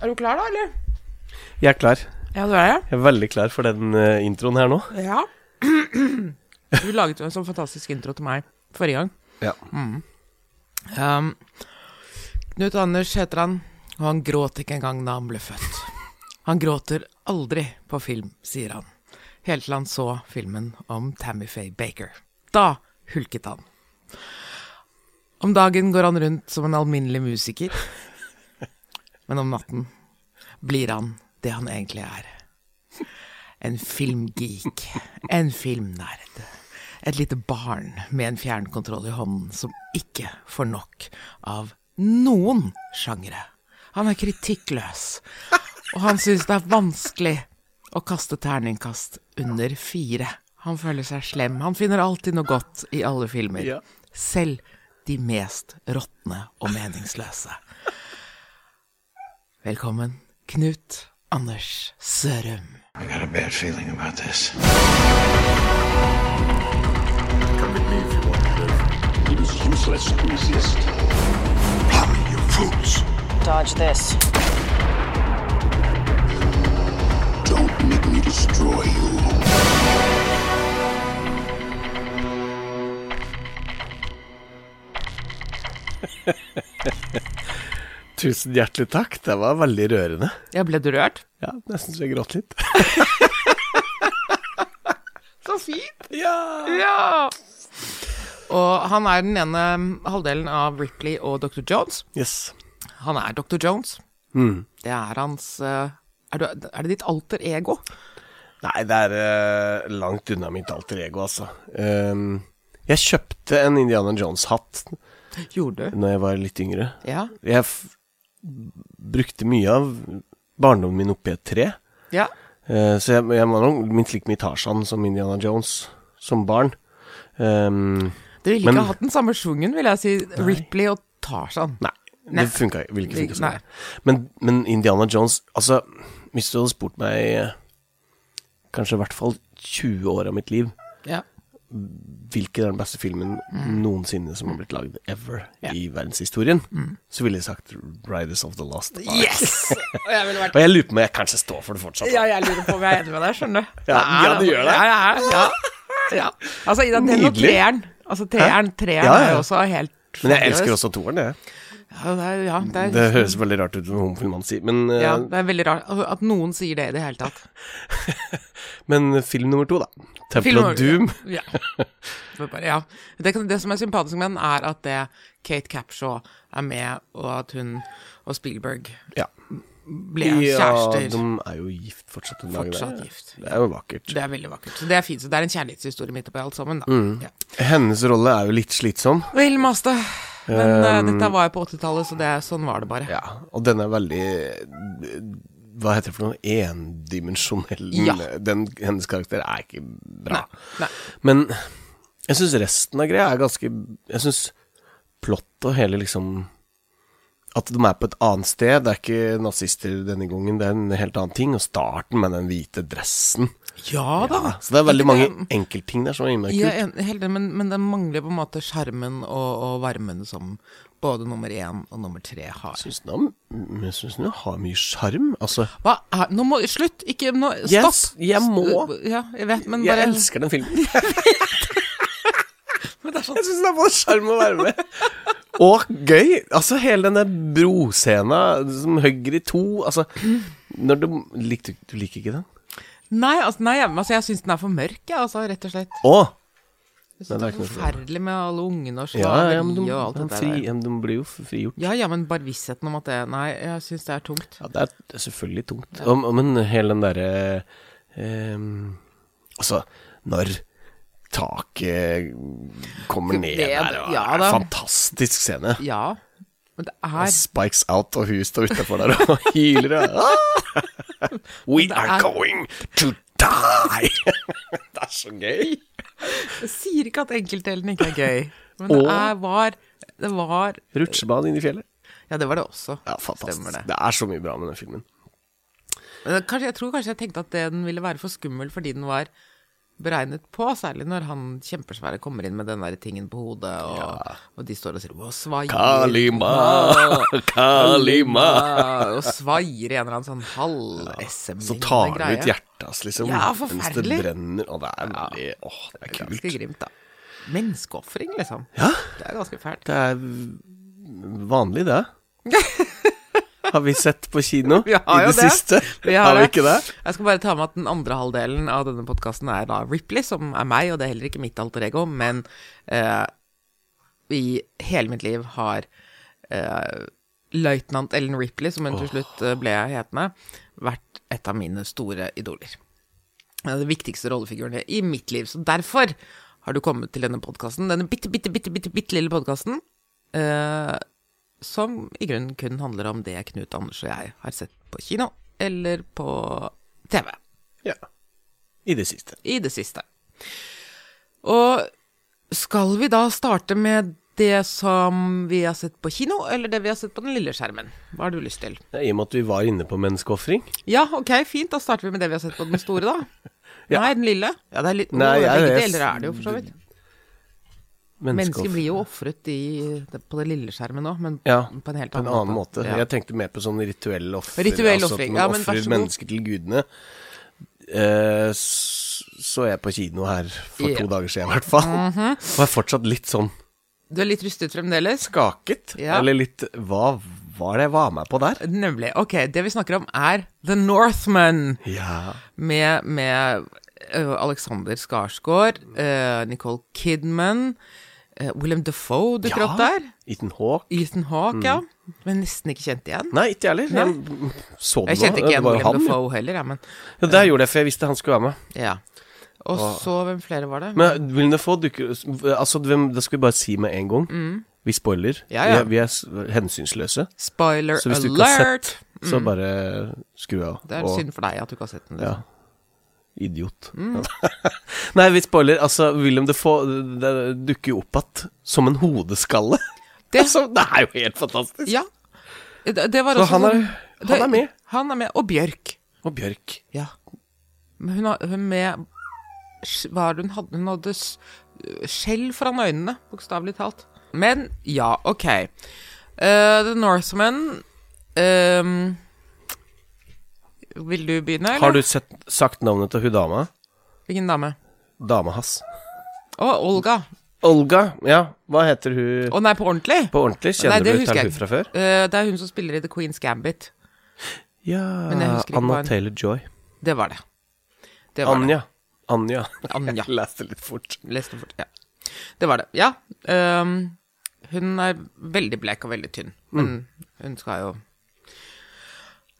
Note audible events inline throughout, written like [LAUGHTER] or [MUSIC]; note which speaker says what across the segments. Speaker 1: Er du klar, da, eller?
Speaker 2: Jeg er klar.
Speaker 1: Ja, du er det?
Speaker 2: Jeg er veldig klar for den eh, introen her nå.
Speaker 1: Ja. Du laget jo en sånn fantastisk intro til meg forrige gang.
Speaker 2: Ja.
Speaker 1: Mm. Um, Knut Anders heter han, og han gråt ikke engang da han ble født. Han gråter aldri på film, sier han. Helt til han så filmen om Tammy Faye Baker. Da hulket han. Om dagen går han rundt som en alminnelig musiker, men om natten blir han det han egentlig er. En filmgeek. En filmnerd. Et lite barn med en fjernkontroll i hånden som ikke får nok av noen sjangere. Han er kritikkløs, og han syns det er vanskelig å kaste terningkast under fire. Han føler seg slem. Han finner alltid noe godt i alle filmer.
Speaker 2: Ja.
Speaker 1: Selv de mest råtne og meningsløse. Velkommen, Knut Anders Sørum.
Speaker 3: I got a bad feeling about this.
Speaker 4: Come with me if you want to live. It is useless to resist. Hurry, you fools.
Speaker 5: Dodge this.
Speaker 4: Don't make me destroy you.
Speaker 2: Tusen hjertelig takk. Det var veldig rørende.
Speaker 1: Ja, ble du rørt?
Speaker 2: Ja, nesten så jeg gråt litt.
Speaker 1: Så fint!
Speaker 2: [LAUGHS] ja!
Speaker 1: Ja! Og han er den ene halvdelen av Ripley og Dr. Jones.
Speaker 2: Yes.
Speaker 1: Han er Dr. Jones.
Speaker 2: Mm.
Speaker 1: Det er hans eh, er, du, er det ditt alter ego?
Speaker 2: Nei, det er eh, langt unna mitt alter ego, altså. Ehm, jeg kjøpte en Indiana Jones-hatt
Speaker 1: Gjorde du?
Speaker 2: når jeg var litt yngre.
Speaker 1: Ja.
Speaker 2: Jeg f brukte mye av barndommen min oppi et tre.
Speaker 1: ja.
Speaker 2: Eh, så jeg, jeg var nok minst like mye Tarzan som Indiana Jones som barn. Ehm,
Speaker 1: Dere ville
Speaker 2: Men-
Speaker 1: ikke ha hatt den samme sjungen, vil jeg si. Ripley og Tarzan.
Speaker 2: Nei,
Speaker 1: Nei.
Speaker 2: det funka ikke. Ville ikke funka
Speaker 1: Nei.
Speaker 2: sånn. Men, men Indiana Jones Altså, hvis du hadde spurt meg eh, kanskje i hvert fall 20 år av mitt liv
Speaker 1: Ja.
Speaker 2: hvilken er den beste filmen
Speaker 1: Mm.
Speaker 2: noensinne som har blitt lagd ever i verdenshistorien, så ville jeg sagt 'Riders of the Lost Ark'.
Speaker 1: Mm. Yes! [LAUGHS] Og jeg ville vært
Speaker 2: Og jeg lurer på om jeg kanskje står for det fortsatt.
Speaker 1: Ja, jeg lurer på om jeg er enig med deg, skjønner du.
Speaker 2: Ja, ja, du gjør det.
Speaker 1: Ja, ja, ja. ja. Altså, Ida, den og
Speaker 2: Nydelig.
Speaker 1: treeren. Altså, treeren, treeren
Speaker 2: Ja, ja.
Speaker 1: er jo også helt
Speaker 2: Men jeg elsker
Speaker 1: fabulous.
Speaker 2: også toeren, jeg.
Speaker 1: Ja, det er, ja, det er,
Speaker 2: Det høres veldig rart ut som en homofil mann sier, men, eh,
Speaker 1: ja, det er veldig rart altså, at noen sier det i det hele tatt.
Speaker 2: men film nummer to, da. Temple
Speaker 1: Film-
Speaker 2: of Doom. [LAUGHS]
Speaker 1: Ja. Det, er bare, ja. Det, kan- det som er sympatisk med den, er at det Kate Capshaw er med, og at hun og Spielberg
Speaker 2: Ja.
Speaker 1: ble
Speaker 2: ja,
Speaker 1: kjærester.
Speaker 2: de er jo gift fortsatt. den dagen der.
Speaker 1: Fortsatt gift.
Speaker 2: Det er jo vakkert.
Speaker 1: Det er veldig vakkert. Så det er fint. Så det er en kjærlighetshistorie midt oppi alt sammen, da.
Speaker 2: Mm.
Speaker 1: Ja.
Speaker 2: Hennes rolle er jo litt slitsom,
Speaker 1: Vel, maste. Men
Speaker 2: Um,
Speaker 1: eh, dette var jo på 80-tallet, så det, sånn var det bare.
Speaker 2: ja. og den er veldig Hva heter det for noe? Endimensjonell.
Speaker 1: Ja.
Speaker 2: Den, hennes karakter er ikke bra.
Speaker 1: Nei.
Speaker 2: Men jeg syns resten av greia er ganske Jeg syns plott og hele liksom At de er på et annet sted. Det er ikke nazister denne gangen, det er en helt annen ting. Og starten med den hvite dressen.
Speaker 1: Ja da.
Speaker 2: Ja, så det er veldig mange enkeltting der som er innmari
Speaker 1: Jeg
Speaker 2: kult.
Speaker 1: er en- helt enig, men, men den mangler på en måte sjarmen og, og varmen som både nummer én og nummer tre har.
Speaker 2: Syns den, har- jeg syns den har mye sjarm. Altså,
Speaker 1: Hva er Nå må Slutt! Ikke nå Stopp!
Speaker 2: Yes, jeg må.
Speaker 1: S- Ja, jeg vet, men
Speaker 2: jeg
Speaker 1: bare
Speaker 2: elsker den
Speaker 1: [LAUGHS]
Speaker 2: filmen.
Speaker 1: Men det er sånn
Speaker 2: Jeg syns det er både sjarm og varme. Og gøy. Altså, hele den der broscena som hogger i to Altså, når du likte, Du liker ikke den?
Speaker 1: Nei, altså, nei, jeg- altså jeg syns den er for mørk, jeg, altså, rett og slett.
Speaker 2: Å!
Speaker 1: Jeg synes det
Speaker 2: Nei, det er
Speaker 1: er
Speaker 2: ikke noe for
Speaker 1: forferdelig med alle ungene og
Speaker 2: Ja,
Speaker 1: slaveri
Speaker 2: ja, men de,
Speaker 1: og alt
Speaker 2: de,
Speaker 1: det
Speaker 2: fri,
Speaker 1: der.
Speaker 2: ja, men de blir jo frigjort.
Speaker 1: Ja, ja, men bare vissheten om at det Nei, jeg syns det er tungt.
Speaker 2: Ja, det er, det er selvfølgelig tungt. Og- og- men hele den derre ehm, Altså, når taket kommer ned
Speaker 1: Det-
Speaker 2: der, og
Speaker 1: ja
Speaker 2: det er
Speaker 1: da.
Speaker 2: en fantastisk scene.
Speaker 1: Ja. Men det
Speaker 2: Og
Speaker 1: er
Speaker 2: Spikes out, og hun står utafor der og [LAUGHS] hyler. og, «Ah! We
Speaker 1: det
Speaker 2: are
Speaker 1: er-
Speaker 2: going to die! [LAUGHS] det er så gøy.
Speaker 1: Jeg sier ikke at enkeltdelen ikke er gøy, men
Speaker 2: Og-
Speaker 1: det er, var Det var
Speaker 2: Rutsjebane inn i fjellet.
Speaker 1: Ja, det var det også.
Speaker 2: Ja, fantastisk.
Speaker 1: Stemmer
Speaker 2: Det.
Speaker 1: det.
Speaker 2: er så mye bra med den filmen.
Speaker 1: Men det- kanskje, jeg tror kanskje jeg tenkte at den ville være for skummel fordi den var beregnet på, særlig når han kjempesvære kommer inn med den der tingen på hodet, og, og de står og sier «Å, svaier».
Speaker 2: Kalima, Kalima.
Speaker 1: Ah, Og svaier i en eller annen sånn halv-SM-lignende
Speaker 2: Så
Speaker 1: greie.
Speaker 2: tar han ut hjertet hans, liksom.
Speaker 1: Ja,
Speaker 2: Mens det
Speaker 1: forferdelig.
Speaker 2: brenner. Og det er veldig Åh, det er kult.
Speaker 1: Ganske grimt, da. Menneskeofring, liksom.
Speaker 2: Ja.
Speaker 1: Det er ganske fælt.
Speaker 2: Det er
Speaker 1: [LAUGHS]
Speaker 2: vanlig, det. Har vi sett på kino
Speaker 1: Vi har
Speaker 2: i
Speaker 1: jo
Speaker 2: det, siste?
Speaker 1: Vi
Speaker 2: har vi ikke det?
Speaker 1: Jeg skal bare ta med at den andre halvdelen av denne podkasten er da Ripley, som er meg, og det er heller ikke mitt alter ego, men eh, i hele mitt liv har eh, løytnant Ellen Ripley, som hun til slutt eh, ble hetende, vært et av mine store idoler. Hun er Den viktigste rollefiguren i mitt liv. Så derfor har du kommet til denne podkasten, denne bitte, bitte, bitte, bitte, bitte lille podkasten, eh, som i grunnen kun handler om det Knut Anders og jeg har sett på kino eller på TV
Speaker 2: Ja. I det siste.
Speaker 1: i det siste. Og skal vi da starte med det som vi har sett på kino, eller det vi har sett på den lille skjermen? Hva har du lyst til?
Speaker 2: Ja, I og med at vi var inne på menneskeofring.
Speaker 1: Ja, ok, fint. Da starter vi med det vi har sett på den store, da.
Speaker 2: Ja.
Speaker 1: Nei, den lille. [LAUGHS] Ja, det er litt
Speaker 2: Nei,
Speaker 1: Nei,
Speaker 2: jeg-
Speaker 1: Begge
Speaker 2: jeg-
Speaker 1: deler er det jo, for så vidt. Mennesker
Speaker 2: Menneskeofring.
Speaker 1: blir jo ofret i, på den lille skjermen òg, men
Speaker 2: Ja,
Speaker 1: på en helt
Speaker 2: På en
Speaker 1: annen,
Speaker 2: annen måte.
Speaker 1: Ja.
Speaker 2: Jeg tenkte mer på sånn rituell offer.
Speaker 1: Rituell
Speaker 2: altså
Speaker 1: ofring,
Speaker 2: At man
Speaker 1: ja, men vær så
Speaker 2: ofrer
Speaker 1: god.
Speaker 2: mennesker til gudene. Eh, s- så jeg på kino her for
Speaker 1: Ja. Mhm.
Speaker 2: to dager siden, i hvert fall. Og er fortsatt litt sånn
Speaker 1: Du er litt rystet fremdeles?
Speaker 2: skaket.
Speaker 1: Ja.
Speaker 2: Eller litt Hva var det jeg var med på der?
Speaker 1: Nemlig. Ok, det vi snakker om er The Northman
Speaker 2: Ja.
Speaker 1: med, med ø, Alexander Skarsgård, ø, Nicole Kidman, ø, Willem Defoe dukker opp der.
Speaker 2: Ethan Hawke.
Speaker 1: Ethan Hawke,
Speaker 2: Mm.
Speaker 1: ja. Men nesten ikke kjent igjen.
Speaker 2: Nei, ikke jeg heller. Jeg så den
Speaker 1: Jeg kjente ikke
Speaker 2: Det
Speaker 1: igjen
Speaker 2: var jo
Speaker 1: Willem
Speaker 2: han, ja.
Speaker 1: Defoe heller, ja, men
Speaker 2: Ja, der gjorde jeg for jeg visste han skulle være med.
Speaker 1: ja. Og så, hvem flere var det?
Speaker 2: Men Willem Dafoe dukker Altså, hvem, det skal vi bare si med en gang. Vi spoiler.
Speaker 1: Mm. Ja, ja.
Speaker 2: Vi, er, vi er s- hensynsløse.
Speaker 1: Spoiler
Speaker 2: Så hvis du ikke har
Speaker 1: alert!
Speaker 2: sett, så bare skru av.
Speaker 1: Mm. Det er
Speaker 2: og
Speaker 1: synd Mm. for deg at du ikke har sett den.
Speaker 2: Ja.
Speaker 1: Liksom.
Speaker 2: idiot. [LAUGHS] Nei, vi spoiler. Altså, William Defoe det dukker jo opp igjen som en hodeskalle.
Speaker 1: [LAUGHS] Det-
Speaker 2: altså, det er jo helt fantastisk.
Speaker 1: Ja. Det, det var
Speaker 2: Så
Speaker 1: også
Speaker 2: han er-
Speaker 1: sånn-
Speaker 2: han er med.
Speaker 1: Han er med. Og Bjørk.
Speaker 2: Og Bjørk.
Speaker 1: Ja. Men hun, har- hun med s- Hva hadde hun? hadde- Hun hadde s- skjell foran øynene, bokstavelig talt. Men ja, ok. Eh, The Northman ehm, Vil du begynne, eller?
Speaker 2: Har du sett, sagt navnet til hun dama?
Speaker 1: Hvilken dame?
Speaker 2: Dama hans.
Speaker 1: Å, Olga.
Speaker 2: Olga. Ja, hva heter hun
Speaker 1: Å nei, på ordentlig?
Speaker 2: på ordentlig? Kjenner
Speaker 1: det
Speaker 2: du
Speaker 1: husker
Speaker 2: til
Speaker 1: jeg
Speaker 2: hun
Speaker 1: ikke.
Speaker 2: fra før?
Speaker 1: Eh, det er hun som spiller i The Queen's Gambit.
Speaker 2: Ja,
Speaker 1: Men jeg husker ikke hva
Speaker 2: Anna
Speaker 1: hun-
Speaker 2: Taylor-Joy.
Speaker 1: Det var det. det var
Speaker 2: Anja. [LAUGHS] Anja.
Speaker 1: Det. Anja.
Speaker 2: Jeg leste litt fort.
Speaker 1: Leste fort, ja. Det var det. Ja. ehm, hun er veldig blek og veldig tynn. Men hun skal jo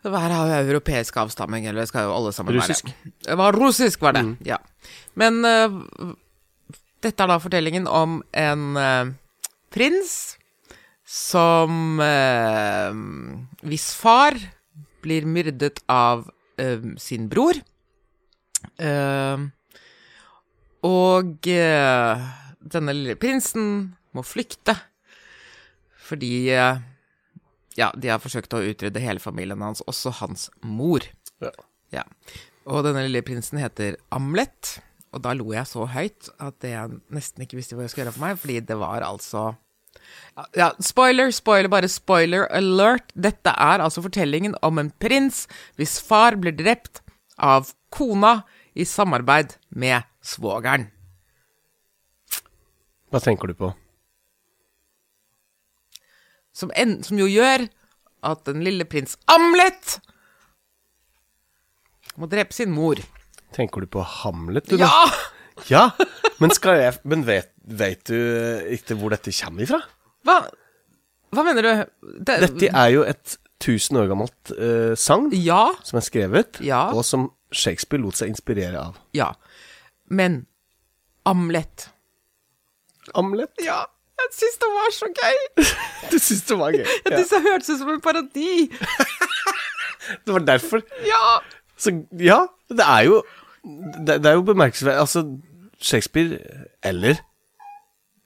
Speaker 1: Hver har jo europeisk avstamming, eller skal jo alle sammen
Speaker 2: Russisk.
Speaker 1: være Det var russisk, var det. Ja. Men eh, dette er da fortellingen om en eh, prins som eh, Hvis far blir myrdet av eh, sin bror. Eh, og eh, denne lille prinsen må flykte fordi eh, ja, de har forsøkt å utrydde hele familien hans, også hans mor.
Speaker 2: Ja.
Speaker 1: Ja. Og denne lille prinsen heter Amlet, og da lo jeg så høyt at det jeg nesten ikke visste hva jeg skulle gjøre for meg, fordi det var altså ja, spoiler, spoiler, bare spoiler alert. Dette er altså fortellingen om en prins hvis far blir drept av kona i samarbeid med svogeren.
Speaker 2: Hva tenker du på?
Speaker 1: Som, en, som jo gjør at den lille prins Amlet må drepe sin mor.
Speaker 2: Tenker du på Hamlet, du,
Speaker 1: Ja!
Speaker 2: da? Ja! Men, skal jeg, men vet, vet du eh, ikke hvor dette kommer ifra?
Speaker 1: Hva, hva mener du? Det-
Speaker 2: Dette er jo et tusen år gammelt eh, sagn
Speaker 1: Ja.
Speaker 2: som er skrevet,
Speaker 1: Ja.
Speaker 2: og som Shakespeare lot seg inspirere av.
Speaker 1: Ja. Men Amlet
Speaker 2: Hamlet?
Speaker 1: Ja, jeg syns det var så gøy!
Speaker 2: Du syns det var gøy?
Speaker 1: Jeg
Speaker 2: [LAUGHS] Ja.
Speaker 1: syns det hørtes ut som en parodi.
Speaker 2: Det var derfor.
Speaker 1: Ja!
Speaker 2: Så ja, det er jo Det, det er jo bemerkelsesverdig Altså, Shakespeare eller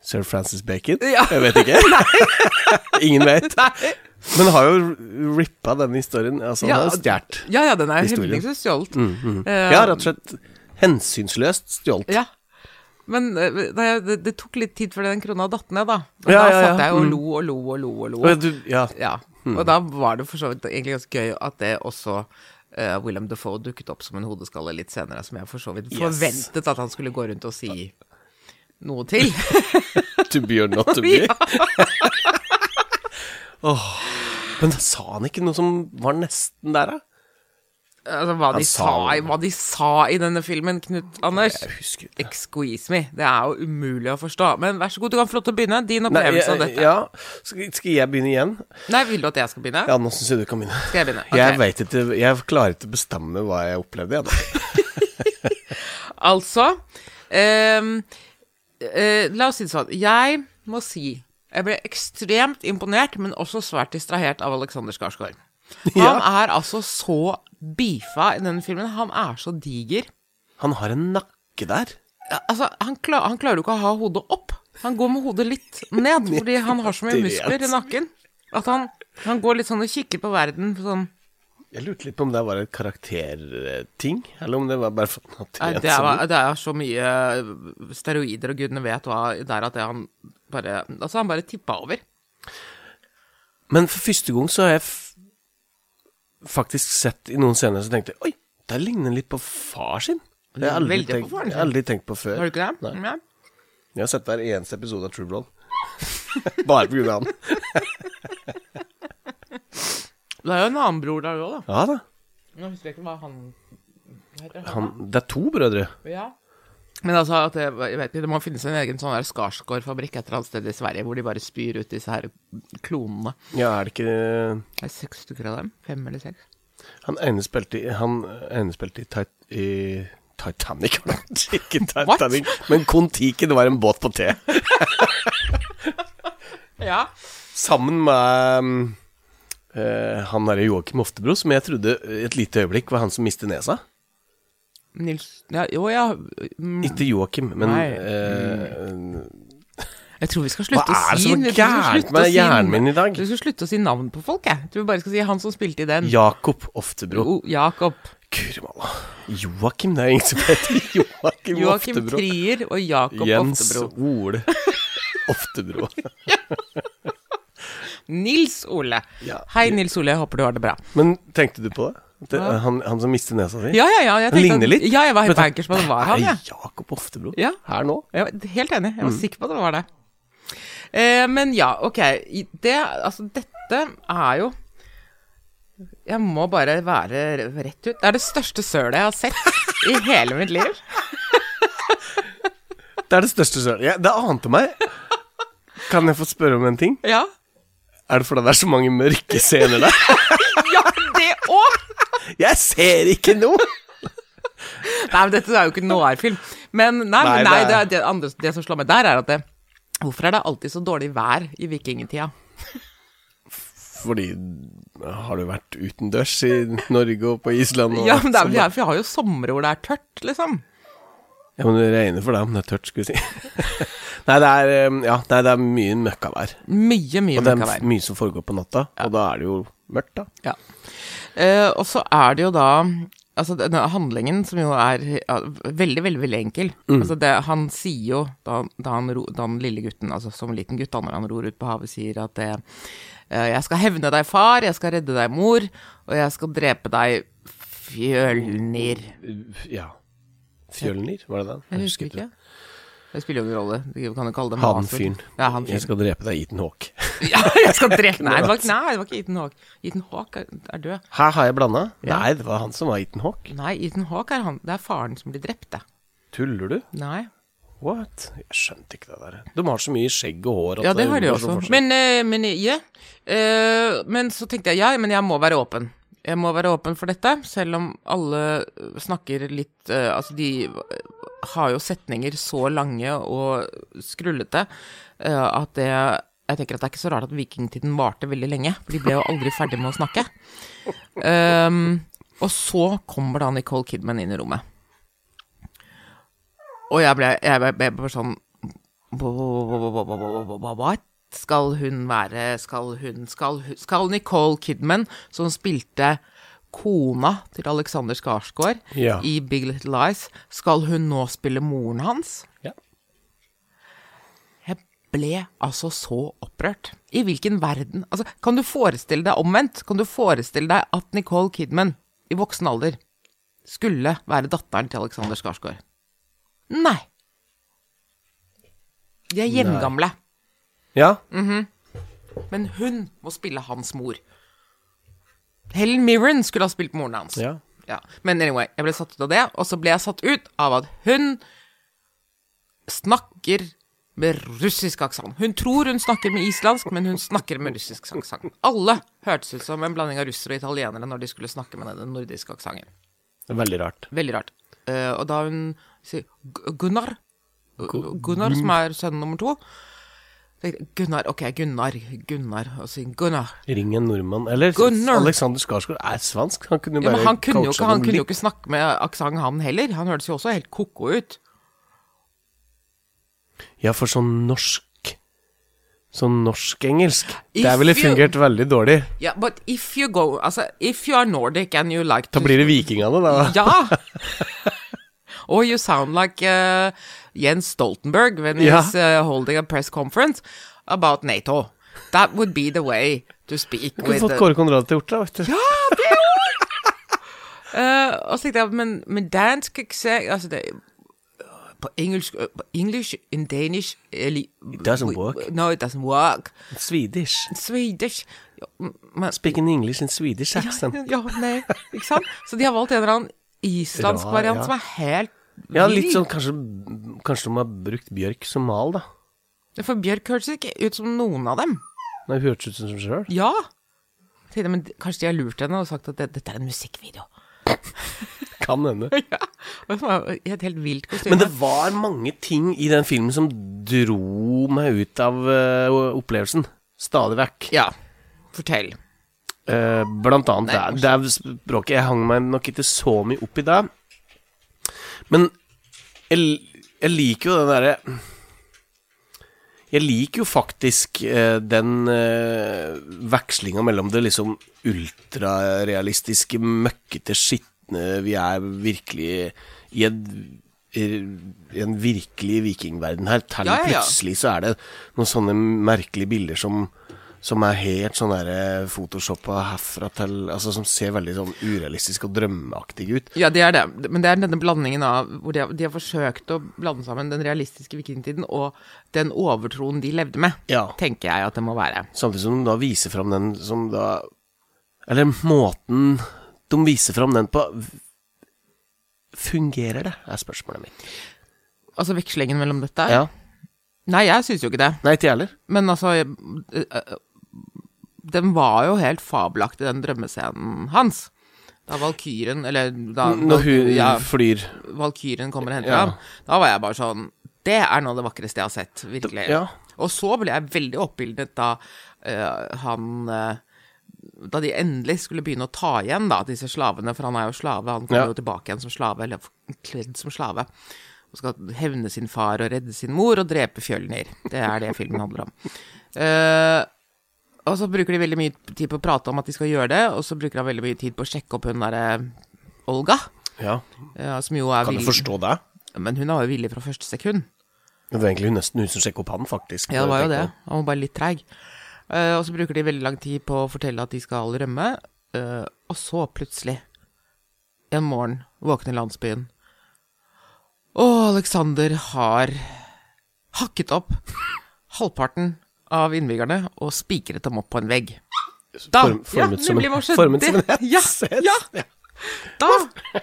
Speaker 2: Sir Francis Bacon?
Speaker 1: Ja.
Speaker 2: Jeg vet ikke. [LAUGHS] Ingen vet.
Speaker 1: Nei.
Speaker 2: Men har jo rippa denne historien. Altså, han har jo stjålet.
Speaker 1: Ja, ja, den er
Speaker 2: historien. Mm.
Speaker 1: hemningsvis stjålet.
Speaker 2: Ja, rett og slett hensynsløst stjålet.
Speaker 1: Ja. Men eh, det, det, det tok litt tid før den krona datt ned, da. Men
Speaker 2: Ja,
Speaker 1: da
Speaker 2: ja, ja.
Speaker 1: satt jeg og
Speaker 2: Mm.
Speaker 1: lo og lo og lo og lo.
Speaker 2: Og du, ja.
Speaker 1: Ja,
Speaker 2: Hmm.
Speaker 1: og da var det for så vidt egentlig ganske gøy at det også eh, Willem Dafoe dukket opp som en hodeskalle litt senere, som jeg for så vidt forventet at han skulle gå rundt og si noe til. [LAUGHS]
Speaker 2: To be or not to be. [LAUGHS] Åh. Men da sa han ikke noe som var nesten der, da?
Speaker 1: altså, hva,
Speaker 2: Han
Speaker 1: de sa,
Speaker 2: sa-
Speaker 1: hva de sa i denne filmen, Knut Anders.
Speaker 2: Jeg husker ikke.
Speaker 1: Excuse me. Det er jo umulig å forstå. Men vær så god, du kan få lov til å begynne. Din
Speaker 2: Nei,
Speaker 1: opplevelse av
Speaker 2: jeg,
Speaker 1: dette.
Speaker 2: ja. skal, skal jeg begynne igjen?
Speaker 1: Nei, vil du at jeg skal begynne?
Speaker 2: Ja, nå syns jeg du kan begynne.
Speaker 1: Skal jeg begynne?
Speaker 2: Jeg
Speaker 1: Ok.
Speaker 2: vet ikke Jeg klarer ikke å bestemme hva jeg opplevde, jeg, da.
Speaker 1: Altså ehm, eh, La oss si det sånn. Jeg må si jeg ble ekstremt imponert, men også svært distrahert av Alexander Skarsgård. Han er altså så beefa i denne filmen. Han er så diger.
Speaker 2: Han har en nakke der.
Speaker 1: Ja, Altså, han, kla- han klarer jo ikke å ha hodet opp. Han går med hodet litt ned, fordi han har så mye muskler i nakken. At han, han går litt sånn og kikker på verden sånn
Speaker 2: Jeg lurte litt på om det var et karakterting, eller om det var bare for at
Speaker 1: Nei, det, er, det er så mye steroider, og gudene vet hva det er at det han bare Altså, han bare tippa over.
Speaker 2: Men for første gang så har jeg f faktisk sett i noen scener så tenkte jeg Oi, der ligner han litt på far sin. Det har jeg aldri,
Speaker 1: Veldig på
Speaker 2: tenkt,
Speaker 1: faren sin.
Speaker 2: jeg har aldri tenkt på før.
Speaker 1: Har du ikke det?
Speaker 2: Nei.
Speaker 1: Ja.
Speaker 2: Jeg har sett hver eneste episode av True Blood. [LAUGHS] bare på grunn av han.
Speaker 1: Det er jo en annen bror der òg, da.
Speaker 2: Ja da.
Speaker 1: Nå husker jeg ikke hva han heter.
Speaker 2: Han, det er to brødre.
Speaker 1: Ja. Men altså, at det, jeg vet ikke, det må finnes en egen sånn der Skarsgård-fabrikk et eller annet sted i Sverige hvor de bare spyr ut disse her klonene.
Speaker 2: Ja, er det ikke
Speaker 1: Det er seks stykker av dem. Fem eller seks.
Speaker 2: Han ene spilte i, han ene spilte i, tit i Titanic, [LAUGHS] var det ikke
Speaker 1: What?
Speaker 2: Titanic, men Kon-Tiki, det var en båt på T.
Speaker 1: Ja.
Speaker 2: Sammen med um, eh, han derre Joakim Oftebro, som jeg trodde et lite øyeblikk var han som mistet nesa.
Speaker 1: Nils ja, Jo, ja. mm,
Speaker 2: Ikke Joakim, men
Speaker 1: Nei. Mm.
Speaker 2: eh,
Speaker 1: Jeg tror vi skal
Speaker 2: Hva
Speaker 1: slutte å
Speaker 2: er det
Speaker 1: si
Speaker 2: som er
Speaker 1: jeg tror vi skal
Speaker 2: gærent
Speaker 1: slutte
Speaker 2: med
Speaker 1: å si-
Speaker 2: hjernen min i dag?
Speaker 1: Du skal slutte å si navn på folk, jeg. Du bare skal si han som spilte i den.
Speaker 2: Jakob Oftebro.
Speaker 1: Jo, Jakob.
Speaker 2: Kurmalla. Joakim, det er ingen som heter [LAUGHS] Joakim,
Speaker 1: Joakim
Speaker 2: Oftebro.
Speaker 1: Trier og Jakob
Speaker 2: Jens
Speaker 1: Oftebro.
Speaker 2: Ole Oftebro.
Speaker 1: Nils Ole.
Speaker 2: Ja.
Speaker 1: Hei, Nils Ole, jeg håper du har det bra.
Speaker 2: Men tenkte du på det? det han, han som mistet nesa si?
Speaker 1: Ja, ja, ja. Jeg
Speaker 2: Han
Speaker 1: tenkte
Speaker 2: ligner
Speaker 1: at-
Speaker 2: litt.
Speaker 1: Ja, jeg var helt
Speaker 2: Vet du,
Speaker 1: bankers på at det var han,
Speaker 2: er
Speaker 1: jeg.
Speaker 2: Jakob Oftebro
Speaker 1: Ja.
Speaker 2: her nå?
Speaker 1: Jeg var helt enig.
Speaker 2: Mm.
Speaker 1: Jeg var sikker på at det var det. Eh, men ja, ok. I- Det, altså, dette er jo Jeg må bare være rett ut. Det er det største sølet jeg har sett i hele mitt
Speaker 2: [LAUGHS]
Speaker 1: liv.
Speaker 2: Det er det største sølet. Ja, det ante meg. Kan jeg få spørre om en ting?
Speaker 1: Ja.
Speaker 2: Er det fordi det er så mange mørke scener der?
Speaker 1: Ja, det òg!
Speaker 2: Jeg ser ikke noe!
Speaker 1: Nei, men dette er jo ikke noir-film. Men nei,
Speaker 2: Nei,
Speaker 1: nei,
Speaker 2: det
Speaker 1: nei
Speaker 2: er-
Speaker 1: det, er det, andre, det som slår meg der, er at det, Hvorfor er det alltid så dårlig vær i vikingtida?
Speaker 2: Fordi har du vært utendørs i Norge og på Island? Og
Speaker 1: Ja, men det er vel,
Speaker 2: sånn?
Speaker 1: for Vi har jo somre hvor det er tørt, liksom.
Speaker 2: ja, men det regner for deg om det er tørt, skulle vi si. [LAUGHS] nei, det er, eh, ja, nei, det er mye møkkavær.
Speaker 1: Mye, mye
Speaker 2: Og det
Speaker 1: mørka
Speaker 2: er
Speaker 1: vær.
Speaker 2: mye som foregår på natta, og da er det jo mørkt, da.
Speaker 1: Ja. Eh, og så er det jo da Altså, denne handlingen som jo er ja, veldig, veldig veldig enkel altså det, Han sier jo, da, da, han ro, da den lille gutten, altså som liten gutt, da når han ror ut på havet, sier at det, eh, 'Jeg skal hevne deg, far. Jeg skal redde deg, mor. Og jeg skal drepe deg, fjølnir'.
Speaker 2: Ja. Fjølnir, var det den?
Speaker 1: Jeg husker ikke. Det spiller jo ingen rolle. Du kan jo kalle det
Speaker 2: Han
Speaker 1: maser.
Speaker 2: fyren.
Speaker 1: Ja, han [LAUGHS]
Speaker 2: Jeg
Speaker 1: fyren.
Speaker 2: skal drepe deg, Ethan Hawk.
Speaker 1: Ja, jeg skal drepe Nei, det var, ikke- nei, det var ikke Ethan Hawk. Ethan Hawk er, er død.
Speaker 2: [LAUGHS] Her har jeg blanda. Nei, det var han som var Ethan Hawk.
Speaker 1: Nei, Ethan Hawk er han. Det er faren som blir drept, det.
Speaker 2: Tuller du?
Speaker 1: Nei.
Speaker 2: What? Jeg skjønte ikke det der. De har så mye skjegg og hår. at
Speaker 1: Ja, det har de
Speaker 2: går så
Speaker 1: også.
Speaker 2: forskjell.
Speaker 1: Men, eh, men, ja. Eh, men så tenkte jeg ja, men jeg må være åpen. Jeg må være åpen for dette, selv om alle eh, snakker litt eh, Altså, de eh, har jo setninger så lange og skrullete eh, at det jeg tenker at Det er ikke så rart at vikingtiden varte veldig lenge, for de ble jo aldri ferdig med å
Speaker 2: [LAUGHS]
Speaker 1: snakke. Ehm, og så kommer da Nicole Kidman inn i rommet. Og jeg ble, jeg ble, ble bare sånn What? Skal hun være Skal hun Skal, hun- skal Nicole Kidman, som spilte kona til Alexander Skarsgård
Speaker 2: Ja.
Speaker 1: i Big Little Lies, skal hun nå spille moren hans?
Speaker 2: Ja.
Speaker 1: Jeg ble altså så opprørt. I hvilken verden Altså, kan du forestille deg omvendt? Kan du forestille deg at Nicole Kidman, i voksen alder, skulle være datteren til Alexander Skarsgård? Nei. De er jevngamle.
Speaker 2: Ja,
Speaker 1: Men hun må spille hans mor. Helen Mirren skulle ha spilt moren hans.
Speaker 2: Ja.
Speaker 1: Ja. Men anyway, jeg ble satt ut av det, og så ble jeg satt ut av at hun snakker med russisk aksent. Hun tror hun snakker med islandsk, men hun snakker med russisk aksent. Alle hørtes ut som en blanding av russere og italienere når de skulle snakke med den nordiske aksenten.
Speaker 2: det er veldig rart.
Speaker 1: Veldig rart. Eh, og da hun sier Gu- Gunnar Gunnar, som er sønn nummer to tenkte jeg, Gunnar, ok, Gunnar, Gunnar Og så sier Gunnar
Speaker 2: Ring en nordmann. Eller
Speaker 1: Gunnar.
Speaker 2: Alexander Skarsgård er svensk. Han kunne jo
Speaker 1: ja,
Speaker 2: bare
Speaker 1: Men han kunne, jo
Speaker 2: coacha
Speaker 1: ikke, han
Speaker 2: dem
Speaker 1: kunne jo
Speaker 2: litt.
Speaker 1: ikke snakke med aksent, han heller. Han hørtes jo også helt ko-ko ut.
Speaker 2: Ja, for sånn norsk Sånn norsk-engelsk.
Speaker 1: If
Speaker 2: Det ville
Speaker 1: you-
Speaker 2: fungert veldig dårlig.
Speaker 1: Ja, but if you go Altså, if you are Nordic and you like to
Speaker 2: Da blir det vikingene, da.
Speaker 1: Ja! [LAUGHS] Or you sound like uh, Jens Stoltenberg when
Speaker 2: Ja.
Speaker 1: he's uh, holding a press conference about NATO. That would be the way to speak
Speaker 2: Kunne
Speaker 1: with
Speaker 2: fått
Speaker 1: the-
Speaker 2: Kåre Konrad til å gjort det, vet du.
Speaker 1: Eh, og så tenkte jeg, men, men dansk eksamen altså det, på engelsk eh, på English in Danish eller, It
Speaker 2: doesn't work.
Speaker 1: No, it doesn't work.
Speaker 2: Swedish.
Speaker 1: Swedish ja, m- men,
Speaker 2: Speaking English in Swedish accent.
Speaker 1: [LAUGHS] ja, nei, ikke sant? Så de har valgt en eller annen islandsk
Speaker 2: Rar,
Speaker 1: variant
Speaker 2: ja.
Speaker 1: som er helt
Speaker 2: Ja, litt
Speaker 1: vill.
Speaker 2: sånn kanskje, kanskje de har brukt bjørk som mal, da. sånn-
Speaker 1: For Bjørk hørtes ikke ut som noen av dem.
Speaker 2: Nei, Hun hørtes ut som seg sjøl.
Speaker 1: Ja! Tenkte jeg, Men kanskje de har lurt henne og sagt at det, dette er en musikkvideo. [LAUGHS]
Speaker 2: Kan hende.
Speaker 1: ja. Og så var jeg I et helt vilt kostyme.
Speaker 2: Men det var mange ting i den filmen som dro meg ut av eh, opplevelsen. Stadig vekk.
Speaker 1: Ja. Fortell.
Speaker 2: Eh, blant annet
Speaker 1: Nei,
Speaker 2: det, er- det er språket. Jeg hang meg nok ikke så mye opp i det. Men jeg, l- jeg liker jo den derre Jeg liker jo faktisk eh, den uh, vekslinga mellom det liksom ultrarealistiske, møkkete, skitne Vi er virkelig i en, i en virkelig vikingverden her. Til
Speaker 1: Ja, ja, ja.
Speaker 2: plutselig så er det noen sånne merkelige bilder som som er helt sånn derre photoshoppa herfra til Altså som ser veldig sånn urealistisk og drømmeaktig ut.
Speaker 1: Ja, det er det. Men det er denne blandingen av hvor de har, de har forsøkt å blande sammen den realistiske vikingtiden og den overtroen de levde med,
Speaker 2: Ja.
Speaker 1: tenker jeg at det må være.
Speaker 2: Samtidig som de da viser fram den som da Eller måten de viser fram den på Fungerer det, er spørsmålet mitt.
Speaker 1: Altså vekslingen mellom dette.
Speaker 2: Ja.
Speaker 1: Nei, jeg syns jo ikke det.
Speaker 2: Nei, ikke jeg heller.
Speaker 1: Men altså jeg- øh, øh, Den var jo helt fabelaktig, den drømmescenen hans. Da valkyrien Eller da
Speaker 2: Når hun
Speaker 1: ja,
Speaker 2: flyr
Speaker 1: valkyrien kommer og henter
Speaker 2: Ja.
Speaker 1: ham. Da var jeg bare sånn Det er noe av det vakreste jeg har sett, virkelig.
Speaker 2: Det- ja.
Speaker 1: Og så ble jeg veldig oppildnet da eh, han eh, Da de endelig skulle begynne å ta igjen da, disse slavene, for han er jo slave, han kommer
Speaker 2: Ja.
Speaker 1: jo tilbake igjen som slave, eller f- kledd som slave, og skal hevne sin far og redde sin mor og drepe Fjølnir. Det er det filmen
Speaker 2: [LAUGHS]
Speaker 1: handler om. Eh, og så bruker de veldig mye tid på å prate om at de skal gjøre det, og så bruker han veldig mye tid på å sjekke opp hun derre Olga,
Speaker 2: Ja,
Speaker 1: eh, som jo er
Speaker 2: kan du
Speaker 1: vill-
Speaker 2: forstå det?
Speaker 1: men hun var jo villig fra første sekund.
Speaker 2: Det var egentlig nesten hun som sjekka opp han, faktisk.
Speaker 1: Ja, det var jo det.
Speaker 2: Tenkte jeg.
Speaker 1: Han var bare litt treig. Eh, og så bruker de veldig lang tid på å fortelle at de skal rømme, eh, og så plutselig, en morgen, våkner landsbyen. Og Alexander har hakket opp halvparten av innbyggerne og spikret dem opp på en vegg. Da,
Speaker 2: Form- formet som en-
Speaker 1: nemlig, hva skjedde?
Speaker 2: formet som en
Speaker 1: Ja,
Speaker 2: hest.
Speaker 1: ja, da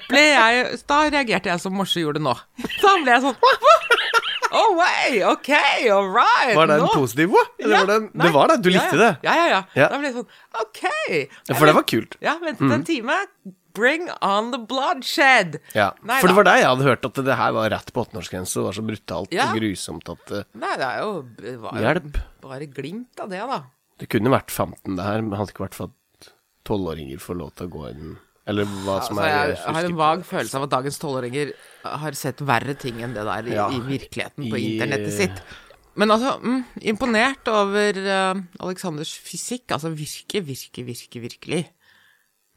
Speaker 1: ble jeg Da reagerte jeg som Morse gjorde nå. Da ble jeg sånn Oh, way, ok, all right.
Speaker 2: Var den
Speaker 1: nå-
Speaker 2: positiv? Hva? Eller
Speaker 1: Ja,
Speaker 2: var den,
Speaker 1: nei.
Speaker 2: det var det, du
Speaker 1: ja,
Speaker 2: likte
Speaker 1: ja.
Speaker 2: det?
Speaker 1: Ja, ja, ja.
Speaker 2: Ja.
Speaker 1: Da ble det sånn Ok.
Speaker 2: Ja, for det var Mm. kult.
Speaker 1: Ja, ventet en time. Bring on the bloodshed.
Speaker 2: Ja,
Speaker 1: Nei
Speaker 2: For det
Speaker 1: da.
Speaker 2: var det jeg hadde hørt, at det her var rett på 18-årsgrense. Det var så brutalt
Speaker 1: Ja.
Speaker 2: og grusomt at eh,
Speaker 1: Nei, det er jo det var jo
Speaker 2: Hjelp.
Speaker 1: Bare glimt av det, da.
Speaker 2: Det kunne vært 15 det her, men hadde ikke vært for at 12-åringer får lov til å gå inn Eller hva som
Speaker 1: Altså,
Speaker 2: er
Speaker 1: jeg
Speaker 2: husker
Speaker 1: har en
Speaker 2: ikke.
Speaker 1: vag følelse av at dagens tolvåringer har sett verre ting enn det der i,
Speaker 2: Ja.
Speaker 1: i virkeligheten på
Speaker 2: I-
Speaker 1: internettet sitt. Men altså, mm, imponert over eh, Alexanders fysikk. Altså virke, virke, virke, virkelig.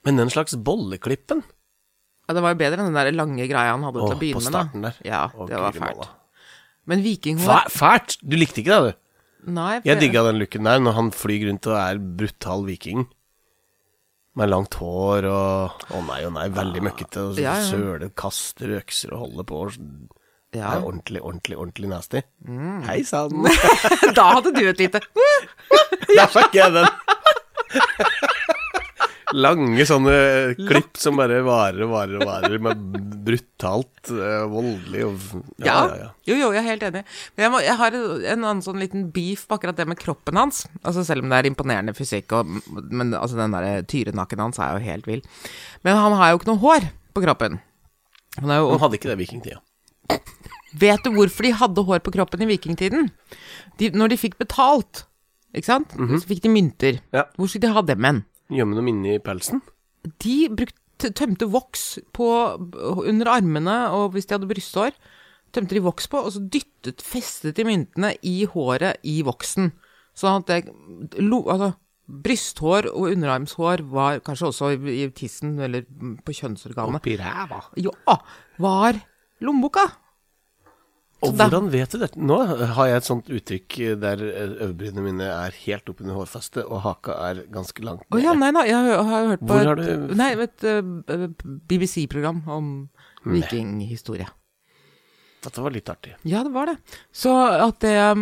Speaker 2: Men den slags bolleklippen
Speaker 1: Ja, det var jo bedre enn den der lange greia han hadde til
Speaker 2: Åh,
Speaker 1: å begynne
Speaker 2: på
Speaker 1: med.
Speaker 2: starten
Speaker 1: da.
Speaker 2: der.
Speaker 1: Ja,
Speaker 2: Å,
Speaker 1: det var
Speaker 2: guri
Speaker 1: fælt.
Speaker 2: malla.
Speaker 1: Men vikinghår
Speaker 2: Fæ- Fælt! Du likte ikke det, du?
Speaker 1: Nei, for-
Speaker 2: Jeg digga den looken der, når han flyr rundt og er brutal viking. Med langt hår og Å nei, å nei, veldig møkkete. Og
Speaker 1: Ja, ja.
Speaker 2: søler, kaster økser og holder på. og- Det
Speaker 1: ja. [LAUGHS] Mm.
Speaker 2: er ordentlig, ordentlig, ordentlig nasty. Hei sann!
Speaker 1: Da hadde du et lite [LAUGHS]
Speaker 2: Der fikk jeg den! Lange sånne klipp som bare varer og varer og varer, med brutalt, eh, voldelig og
Speaker 1: Ja. Jo, jo, jeg er helt enig. Men jeg, må, jeg har en annen sånn liten beef på akkurat det med kroppen hans. Altså Selv om det er imponerende fysikk, og, men altså, den der tyrenakken hans er jo helt vill. Men han har jo ikke noe hår på kroppen. Han er jo,
Speaker 2: Han hadde ikke det i vikingtida.
Speaker 1: vet du hvorfor de hadde hår på kroppen i vikingtiden? De, når de fikk betalt, ikke sant, så fikk de mynter.
Speaker 2: Ja.
Speaker 1: Hvor skulle de ha dem hen?
Speaker 2: Gjemme dem inne i pelsen.
Speaker 1: De brukte, tømte voks på, under armene, og hvis de hadde brysthår, tømte de voks på, og så dyttet, festet de myntene i håret i voksen. Sånn at det, lo, altså, brysthår og underarmshår var kanskje også i i tissen, eller på kjønnsorganet,
Speaker 2: Oppi ræva.
Speaker 1: ja, var lommeboka.
Speaker 2: Og
Speaker 1: Så da-
Speaker 2: hvordan vet du dette? Nå har jeg et sånt uttrykk der øyebrynene mine er helt oppunder hårfestet, og haka er ganske langt
Speaker 1: Å ja, nei, nei, jeg har, har hørt på
Speaker 2: Hvor har
Speaker 1: et,
Speaker 2: du-
Speaker 1: nei, et eh, BBC-program om vikinghistorie.
Speaker 2: Dette var litt artig.
Speaker 1: Ja, det var det. Så at det um,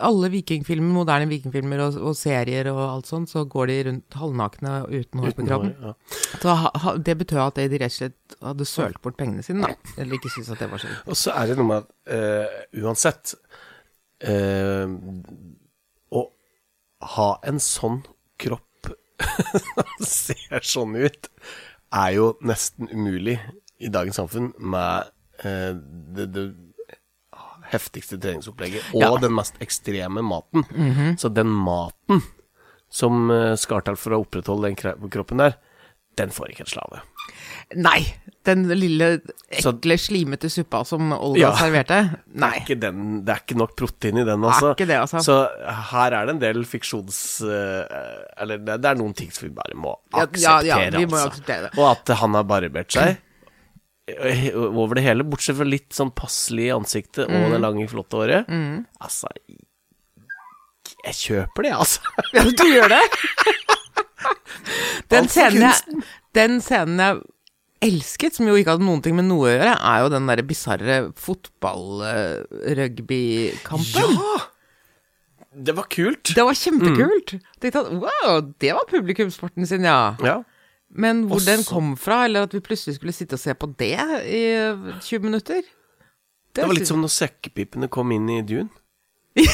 Speaker 1: Alle vikingfilmer, moderne vikingfilmer og, og serier og alt sånt, så går de rundt halvnakne og uten hår på kroppen.
Speaker 2: Ja.
Speaker 1: Så ha, ha, det betød at de rett og slett hadde sølt bort pengene sine, da. Eller ikke syntes at det var så viktig.
Speaker 2: Og så er det noe med at eh, uansett eh, Å ha en sånn kropp [LAUGHS] som ser sånn ut, er jo nesten umulig i dagens samfunn med eh, det, det heftigste treningsopplegget og
Speaker 1: Ja.
Speaker 2: den mest ekstreme maten. Så den maten som eh, skal til for å opprettholde den kre- kroppen der, den får ikke en slave.
Speaker 1: Nei! Den lille
Speaker 2: Så-
Speaker 1: ekle, slimete suppa som Olga
Speaker 2: Ja.
Speaker 1: serverte?
Speaker 2: [LAUGHS]
Speaker 1: Nei.
Speaker 2: Det er ikke, den, det er ikke nok protein i den, altså.
Speaker 1: ikke det, altså.
Speaker 2: Så her er det en del fiksjons... eh, Eller det, det er noen ting som vi bare må
Speaker 1: Ja,
Speaker 2: akseptere,
Speaker 1: ja, ja, vi må
Speaker 2: altså.
Speaker 1: akseptere det.
Speaker 2: Og at han har barbert seg eh, over det hele, bortsett fra litt sånn passelig i ansiktet
Speaker 1: Mm.
Speaker 2: og det lange, flotte håret. Altså Jeg kjøper det, altså.
Speaker 1: Ja, du gjør
Speaker 2: [LAUGHS]
Speaker 1: det? den,
Speaker 2: Alt for
Speaker 1: scenen jeg, den scenen jeg elsket, som jo ikke hadde noen ting med noe å gjøre, er jo den derre bisarre fotball-rugby-kampen.
Speaker 2: Det var kult.
Speaker 1: [LAUGHS] Det var
Speaker 2: Mm.
Speaker 1: kjempekult. Tenkte at wow, det var publikumssporten sin, ja.
Speaker 2: Ja.
Speaker 1: Men hvor
Speaker 2: Og
Speaker 1: den
Speaker 2: så-
Speaker 1: kom fra, eller at vi plutselig skulle sitte og se på det i 20 minutter
Speaker 2: Det var litt som når sekkepipene kom inn i Dune.
Speaker 1: Det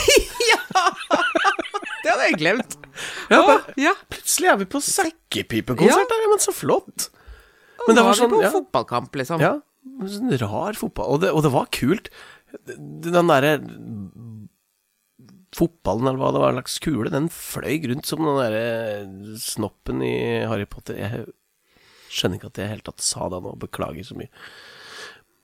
Speaker 1: hadde jeg glemt.
Speaker 2: Ja,
Speaker 1: Å, ja.
Speaker 2: Plutselig er vi på sekkepipekonsert, ja. men så flott.
Speaker 1: Men det var, vi på
Speaker 2: sånn, ja.
Speaker 1: fotballkamp, liksom.
Speaker 2: Ja, sånn rar fotball. Og det, og det var kult. Den derre fotballen, eller hva det var, en slags kule, den fløy rundt som den derre snoppen i Harry Potter. Jeg skjønner ikke at jeg i det hele tatt sa det nå, beklager så mye.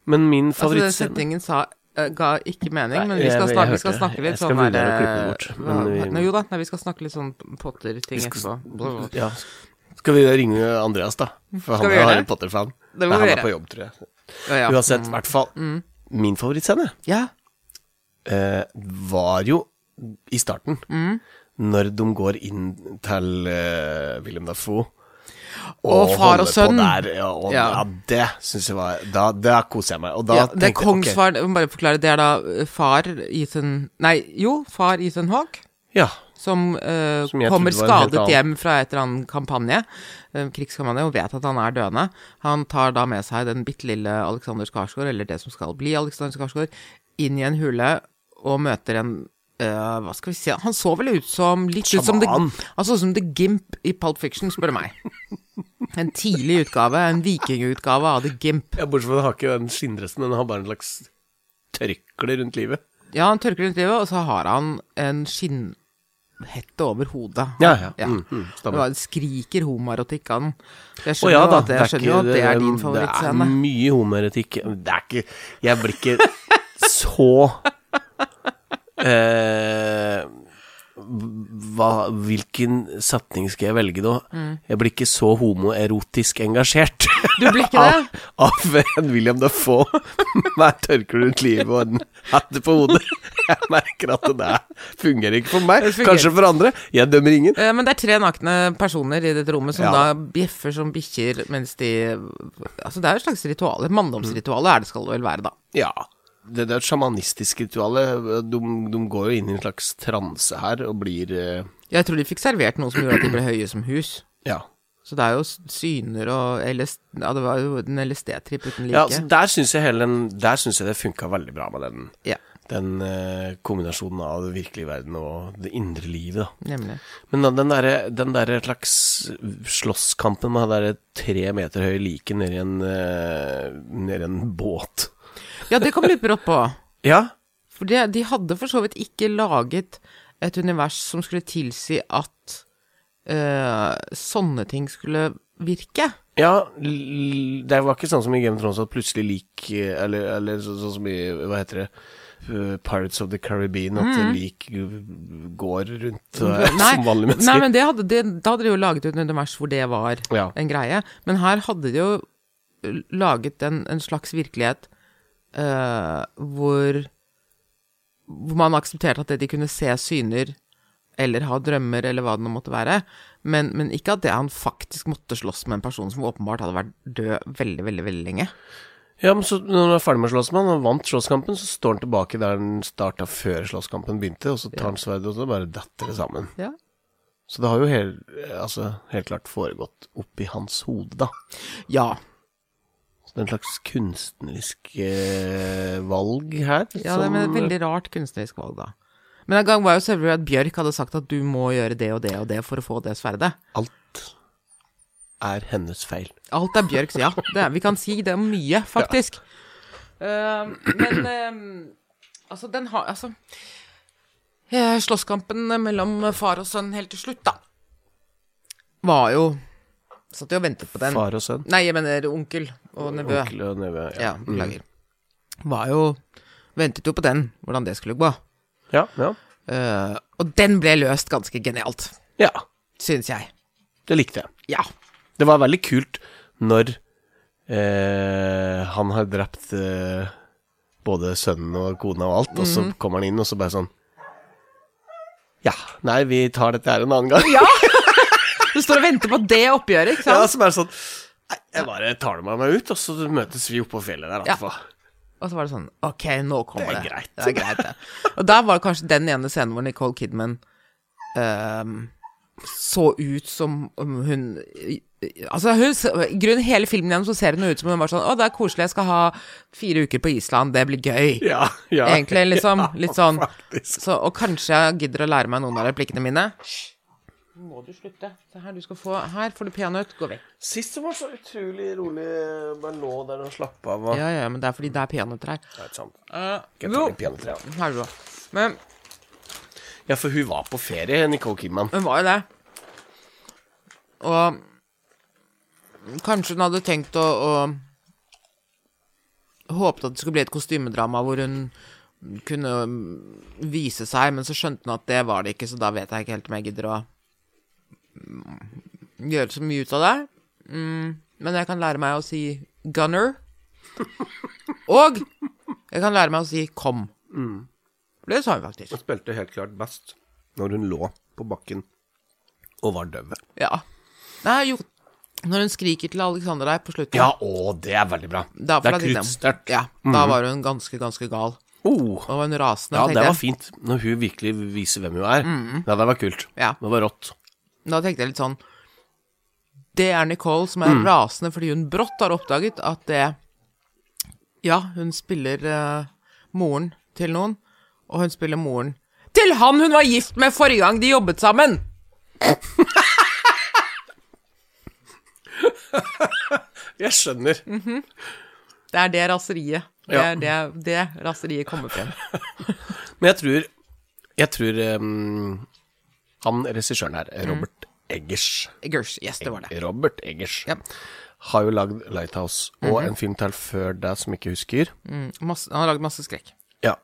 Speaker 2: Men min
Speaker 1: Altså, den
Speaker 2: favorittscene
Speaker 1: setningen sa, eh, ga ikke mening,
Speaker 2: Nei,
Speaker 1: men vi
Speaker 2: jeg-
Speaker 1: skal,
Speaker 2: jeg
Speaker 1: snakke,
Speaker 2: hørte
Speaker 1: vi skal
Speaker 2: det.
Speaker 1: snakke
Speaker 2: Jeg
Speaker 1: litt
Speaker 2: skal
Speaker 1: sånn
Speaker 2: vurdere
Speaker 1: der,
Speaker 2: å klippe det
Speaker 1: eh,
Speaker 2: bort,
Speaker 1: hva-
Speaker 2: men vi-
Speaker 1: Nei, jo da, nei, vi skal snakke litt sånn Potter-ting etterpå. Blablabla.
Speaker 2: ja. Skal vi ringe Andreas, da? For
Speaker 1: Skal
Speaker 2: han
Speaker 1: vi
Speaker 2: er
Speaker 1: gjøre det?
Speaker 2: Harry Potter-fan.
Speaker 1: Det må
Speaker 2: Men
Speaker 1: vi
Speaker 2: han er
Speaker 1: gjøre.
Speaker 2: på jobb, tror jeg.
Speaker 1: Ja, Mm. ja.
Speaker 2: Uansett, i hvert fall. Min favorittscene
Speaker 1: Ja,
Speaker 2: eh, var jo i starten, når de går inn til eh, William Dafoe
Speaker 1: Og far og
Speaker 2: holder på
Speaker 1: sønn.
Speaker 2: Der, ja, og, ja.
Speaker 1: Ja.
Speaker 2: det syns jeg var Da, da koser jeg meg. Og da
Speaker 1: ja, det er
Speaker 2: tenkte jeg, ok,
Speaker 1: Kongsvard Jeg må bare forklare, det er da eh, far Ethan Nei, jo, far Ethan Hawk,
Speaker 2: Ja,
Speaker 1: som, eh,
Speaker 2: Som jeg
Speaker 1: kommer
Speaker 2: trodde var en helt
Speaker 1: skadet
Speaker 2: annen.
Speaker 1: hjem fra et eller annet kampanje, eh, krigskampanje, og vet at han er døende. Han tar da med seg den bitte lille Alexander Skarsgård, eller det som skal bli Alexander Skarsgård, inn i en hule og møter en eh, hva skal vi si Han så vel ut som litt ut som The,
Speaker 2: Sjaman.
Speaker 1: han så ut som The Gimp i Pulp Fiction, spør du meg. En tidlig utgave, en vikingutgave av The Gimp.
Speaker 2: ja Bortsett fra at han har ikke den skinndressen, den har bare en slags tørkle rundt livet.
Speaker 1: Ja, han tørker rundt livet, og så har han en skinnhette over hodet.
Speaker 2: Ja, ja.
Speaker 1: Ja.
Speaker 2: Mm, mm,
Speaker 1: Det
Speaker 2: stemmer.
Speaker 1: var, skriker homoerotikk av den. Jeg
Speaker 2: Å
Speaker 1: skjønner,
Speaker 2: ja
Speaker 1: jo
Speaker 2: da,
Speaker 1: at, jeg skjønner jo at det er din
Speaker 2: Det
Speaker 1: favorittscene.
Speaker 2: er mye homoerotikk. Det er ikke Jeg blir ikke så eh, hva, Hvilken setning skal jeg velge da? Jeg blir ikke så homoerotisk engasjert
Speaker 1: Mm. Du blir ikke det?
Speaker 2: [LAUGHS] av, av en William Dafoe [LAUGHS] med en tørkle rundt livet og en hatt på hodet. [LAUGHS] Jeg merker at det der fungerer ikke for meg.
Speaker 1: Det fungerer.
Speaker 2: Kanskje for andre. Jeg dømmer ingen.
Speaker 1: Eh, Men det er tre nakne personer i dette rommet som
Speaker 2: Ja.
Speaker 1: da bjeffer som bikkjer mens de Altså, det er jo et slags ritual. Et manndomsritual er det skal det vel være, da.
Speaker 2: Ja. Det, det er et sjamanistisk ritual. De, de går jo inn i en slags transe her og blir eh,
Speaker 1: Jeg tror de fikk servert noe som gjorde at de ble høye som hus.
Speaker 2: Ja.
Speaker 1: Så det er jo s- syner og LS, Ja, det var jo en LSD-tripp uten like.
Speaker 2: ja altså. så der syns jeg, hele den- der synes jeg det funka veldig bra med den,
Speaker 1: Ja,
Speaker 2: den eh, kombinasjonen av den virkelige verden og det indre livet, da.
Speaker 1: nemlig.
Speaker 2: Men da, den derre den der slags slåsskampen med det derre tre meter høye liket nedi en, eh, ned i en båt
Speaker 1: Ja, det kom litt brått på.
Speaker 2: Ja,
Speaker 1: For det, de hadde for så vidt ikke laget et univers som skulle tilsi at eh, sånne ting skulle virke.
Speaker 2: Ja, l- det var ikke sånn som i Game of Thrones at plutselig lik eh, Eller, eller så, sånn som i Hva heter det? Uh, Pirates of the Caribbean, at
Speaker 1: Mm.
Speaker 2: lik går rundt uh, [LAUGHS] som vanlige mennesker.
Speaker 1: Nei, men det hadde, det, da hadde de jo laget et univers hvor det var
Speaker 2: Ja.
Speaker 1: en greie. Men her hadde de jo laget en, en slags virkelighet eh, hvor, hvor man aksepterte at det de kunne se syner eller ha drømmer, eller hva det nå måtte være. Men, men ikke at det han faktisk måtte slåss med en person som åpenbart hadde vært død veldig, veldig veldig lenge.
Speaker 2: Ja, men så når han er ferdig med slåssmannen og vant slåsskampen, så står han tilbake der han starta før slåsskampen begynte, og så tar han sverdet, og så bare detter det sammen.
Speaker 1: Ja.
Speaker 2: Så det har jo helt, altså, helt klart foregått oppi hans hode, da.
Speaker 1: Ja.
Speaker 2: Så det er en slags kunstnerisk eh, valg her.
Speaker 1: ja det, men et veldig rart kunstnerisk valg, da. Men en gang var jo selvfølgelig at Bjørk hadde sagt at du må gjøre det og det og det for å få det sverdet.
Speaker 2: Alt er hennes feil.
Speaker 1: Alt er Bjørks, ja. Det er, vi kan si det om mye, faktisk. Eh, men eh, altså, den har Altså eh, Slåsskampen mellom far og sønn helt til slutt, da, var jo Satt jo og ventet på den.
Speaker 2: Far og sønn.
Speaker 1: Nei, jeg mener onkel og nevø.
Speaker 2: Onkel Mm. og nevø.
Speaker 1: Ja, beklager. Var jo Ventet jo på den, hvordan det skulle gå.
Speaker 2: Ja, ja.
Speaker 1: Eh, og den ble løst ganske genialt,
Speaker 2: ja,
Speaker 1: syns jeg.
Speaker 2: det likte jeg.
Speaker 1: Ja.
Speaker 2: Det var veldig kult når eh, han har drept eh, både sønnen og kona og alt, og
Speaker 1: Mhm.
Speaker 2: så kommer han inn, og så bare sånn Ja, nei, vi tar dette her en annen
Speaker 1: [LAUGHS]
Speaker 2: gang. Ja,
Speaker 1: Du står og venter på det oppgjøret, ikke sant?
Speaker 2: som er sånn Nei, jeg bare tar det med meg ut, og så møtes vi oppå fjellet der, i
Speaker 1: Ja.
Speaker 2: hvert fall.
Speaker 1: Og så var det sånn Ok, nå kommer
Speaker 2: Det
Speaker 1: det.
Speaker 2: er greit.
Speaker 1: Det er greit, det. Og der var det kanskje den ene scenen hvor Nicole Kidman ehm, så ut som om hun Altså, hun, s- i grunnen hele filmen igjen så ser hun ut som om hun var sånn Å, det er koselig, jeg skal ha fire uker på Island, det blir gøy.
Speaker 2: Ja, ja.
Speaker 1: Egentlig, liksom.
Speaker 2: Ja,
Speaker 1: litt sånn.
Speaker 2: [LAUGHS] Faktisk.
Speaker 1: Så, og kanskje jeg gidder å lære meg noen av replikkene mine. Hysj. Nå Må du slutte. Se her, du skal få Her får du peanøtt. Gå vekk.
Speaker 2: Sist det var så utrolig rolig, bare lå der og slapp av og
Speaker 1: Ja, ja, men det er fordi det er peanøtter her.
Speaker 2: Det er sant.
Speaker 1: Eh,
Speaker 2: Skal jeg ta
Speaker 1: jo,
Speaker 2: litt peanøtter, ja.
Speaker 1: her er du da. Men
Speaker 2: Ja, for hun var på ferie, Nicole Kidman.
Speaker 1: Hun var jo det. Og kanskje hun hadde tenkt å, å Håpet at det skulle bli et kostymedrama hvor hun kunne mm, vise seg, men så skjønte hun at det var det ikke, så da vet jeg ikke helt om jeg gidder å mm, gjøre så mye ut av det. Mm, men jeg kan lære meg å si 'gunner'. Og jeg kan lære meg å si 'kom'. For Det sa hun faktisk.
Speaker 2: Hun spilte helt klart best når hun lå på bakken og var døv.
Speaker 1: Ja. Nei, jo. Når hun skriker til Alexander der på slutten
Speaker 2: Ja, å, det er veldig bra.
Speaker 1: da,
Speaker 2: det er
Speaker 1: da-
Speaker 2: kruttsterkt.
Speaker 1: Ja, da var hun ganske, ganske gal.
Speaker 2: Oh.
Speaker 1: Da var hun rasende.
Speaker 2: Ja,
Speaker 1: tenkte
Speaker 2: det var
Speaker 1: jeg.
Speaker 2: fint, når hun virkelig viser hvem hun er. Ja, det var kult.
Speaker 1: Ja.
Speaker 2: Det var rått.
Speaker 1: Da tenkte jeg litt sånn Det er Nicole som er
Speaker 2: Mhm.
Speaker 1: rasende fordi hun brått har oppdaget at det Ja, hun spiller eh, moren til noen, og hun spiller moren til han hun var gift med forrige gang de jobbet sammen!
Speaker 2: Jeg skjønner.
Speaker 1: Mm. Det er det raseriet. Det
Speaker 2: Ja.
Speaker 1: er det, det raseriet kommer
Speaker 2: [LAUGHS]
Speaker 1: frem.
Speaker 2: Men jeg tror Jeg tror ehm, han regissøren her, Robert
Speaker 1: Mm.
Speaker 2: Eggers
Speaker 1: Gersh, yes, det var det.
Speaker 2: Robert Eggers
Speaker 1: Ja. Mhm.
Speaker 2: har jo lagd 'Lighthouse' og en film til før det som jeg ikke husker.
Speaker 1: Mm, masse, han har lagd masse skrekk. Mhm.
Speaker 2: Ja.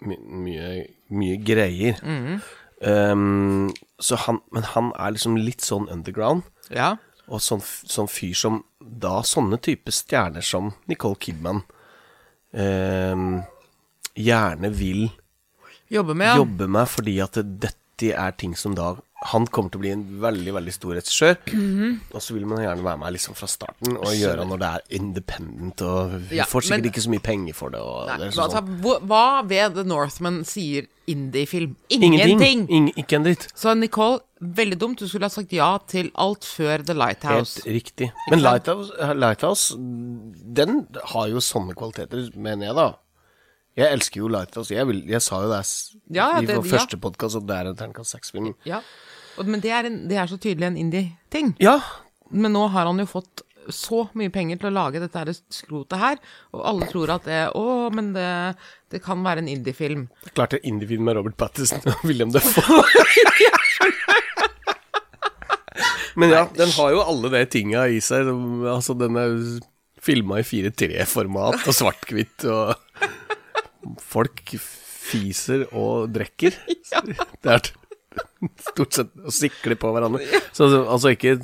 Speaker 2: My, mye, mye greier. Ehm, så han, men han er liksom litt sånn underground,
Speaker 1: Ja.
Speaker 2: og sånn, f- sånn fyr som da sånne type stjerner som Nicole Kidman ehm, gjerne vil
Speaker 1: Jobbe med han.
Speaker 2: jobbe med, fordi at dette er ting som da han kommer til å bli en veldig veldig stor regissør.
Speaker 1: Mhm.
Speaker 2: Og så vil man gjerne være med liksom fra starten og gjøre når det er independent. Og vi
Speaker 1: Ja,
Speaker 2: får sikkert
Speaker 1: men-
Speaker 2: ikke så mye penger for det. Og
Speaker 1: Nei,
Speaker 2: det er
Speaker 1: hva-
Speaker 2: sånn-
Speaker 1: altså, hvor- hva ved The Northman sier indie-film?
Speaker 2: Ingenting!
Speaker 1: Ingenting!
Speaker 2: Ing- ikke en dritt.
Speaker 1: Så Nicole, veldig dumt. Du skulle ha sagt ja til alt før The Lighthouse.
Speaker 2: Helt riktig. Men Lighthouse, eh, Lighthouse, den har jo sånne kvaliteter, mener jeg, da. Jeg elsker jo Lighthouse. Jeg, vil, jeg sa jo det s-
Speaker 1: Ja, ja,
Speaker 2: i
Speaker 1: det-
Speaker 2: vår
Speaker 1: ja.
Speaker 2: første podkast at det er en terningkast seks-film.
Speaker 1: Ja. Og, men det er, en, det er så tydelig en indie-ting.
Speaker 2: Ja,
Speaker 1: Men nå har han jo fått så mye penger til å lage dette her skrotet her, og alle tror at det Å, men det, det kan være en indie-film.
Speaker 2: klart det er indie-film med Robert Patterson og William Defoe. Men ja, den har jo alle de tinga i seg. som- Altså, den er filma i 4-3-format og svart-hvitt og Folk fiser og drikker. Det er stort sett å sikle på hverandre. Så altså- altså ikke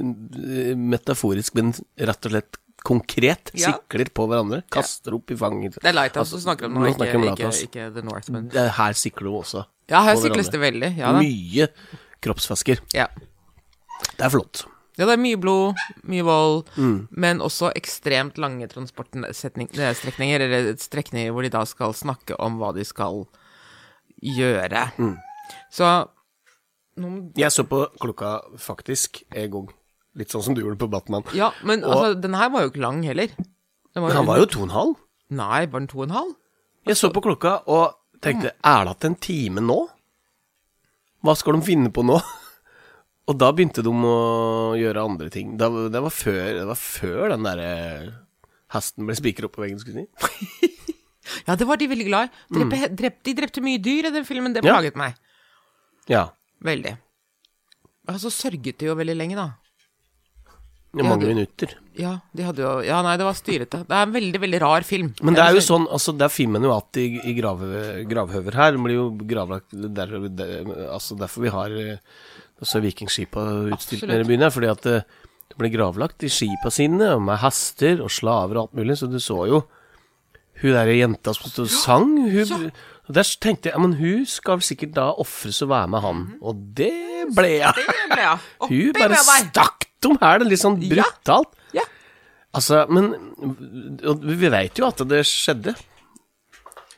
Speaker 2: metaforisk, men rett og slett konkret.
Speaker 1: Ja.
Speaker 2: Sikler på hverandre, kaster opp i fanget.
Speaker 1: Det er Lighthouse du snakker om nå,
Speaker 2: Altså, nå
Speaker 1: ikke,
Speaker 2: snakker vi om
Speaker 1: ikke,
Speaker 2: Lighthouse.
Speaker 1: ikke The Northman.
Speaker 2: Det er eh, her sikler du også.
Speaker 1: Ja, her
Speaker 2: på
Speaker 1: sykles det
Speaker 2: hverandre.
Speaker 1: veldig. Ja da.
Speaker 2: Mye kroppsvæsker.
Speaker 1: Ja.
Speaker 2: Det er flott.
Speaker 1: Ja, det er mye blod, mye vold,
Speaker 2: Mm.
Speaker 1: men også ekstremt lange transportstrekninger, eller strekninger hvor de da skal snakke om hva de skal gjøre.
Speaker 2: Mm.
Speaker 1: Så nå,
Speaker 2: Jeg så på klokka faktisk en gang. Litt sånn som du gjorde på Batman.
Speaker 1: Ja, men
Speaker 2: Og-
Speaker 1: altså, den her var jo ikke lang heller. Den
Speaker 2: Men han var jo to og en halv.
Speaker 1: Nei, var den to og en halv?
Speaker 2: Jeg så på klokka og tenkte Er det igjen en time nå? Hva skal de finne på nå? [LAUGHS] Og da begynte de å gjøre andre ting. Da, det, var før, det var før den derre hesten ble spikret opp på veggen, skulle jeg si.
Speaker 1: Ja, det var de veldig glad i. Drepe, drep, de drepte mye dyr i den filmen, det
Speaker 2: Mm. Ja.
Speaker 1: plaget meg
Speaker 2: Ja.
Speaker 1: veldig. Ja, så sørget de jo veldig lenge, da.
Speaker 2: I mange
Speaker 1: du-
Speaker 2: minutter.
Speaker 1: Ja, de hadde jo Ja, nei, det var styrete. Det er en veldig, veldig rar film.
Speaker 2: Men det
Speaker 1: Jeg
Speaker 2: er jo
Speaker 1: ser-
Speaker 2: sånn, altså der finner man jo at i, i grave, gravhøver her Den blir jo gravlagt der, der, Altså derfor vi har eh, også vikingskipa utstilt
Speaker 1: Absolutt.
Speaker 2: nede i byen her, fordi at det, det ble gravlagt i skipa sine, og med hester og slaver og alt mulig, så du så jo hun derre jenta som stod og sang, hun og Der tenkte jeg ja, men hun skal vel sikkert da ofres og være med han, og det ble
Speaker 1: Mhm.
Speaker 2: jeg.
Speaker 1: Det ble jeg.
Speaker 2: Hun
Speaker 1: Oppi
Speaker 2: bare
Speaker 1: med deg.
Speaker 2: stakk dem her, litt sånn
Speaker 1: Ja.
Speaker 2: brutalt.
Speaker 1: Ja.
Speaker 2: Altså, men og Vi veit jo at det skjedde.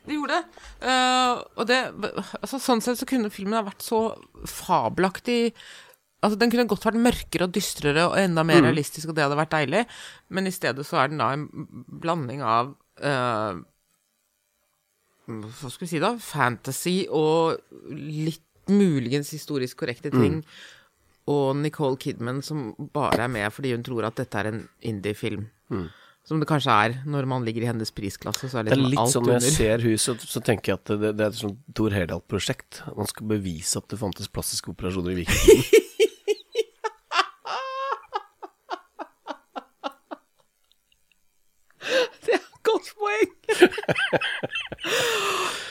Speaker 1: Det gjorde det. Eh, og det altså, Sånn sett så kunne filmen ha vært så fabelaktig Altså, Den kunne godt vært mørkere og dystrere og enda
Speaker 2: Mm.
Speaker 1: mer realistisk, og det hadde vært deilig, men i stedet så er den da en blanding av eh, Hva skal vi si, da? Fantasy og litt muligens historisk korrekte
Speaker 2: Mm.
Speaker 1: ting. Og Nicole Kidman som bare er med fordi hun tror at dette er en indie-film. Som det kanskje er når man ligger i hennes prisklasse. Så er
Speaker 2: Mm. Det
Speaker 1: det,
Speaker 2: er litt
Speaker 1: alt
Speaker 2: sånn
Speaker 1: under.
Speaker 2: når jeg ser huset, så tenker jeg at det, det er et sånt Thor Heyerdahl-prosjekt. Man skal bevise at det fantes plastiske operasjoner
Speaker 1: [LAUGHS]
Speaker 2: i Viking.
Speaker 1: [LAUGHS] Det er et godt poeng. [LAUGHS]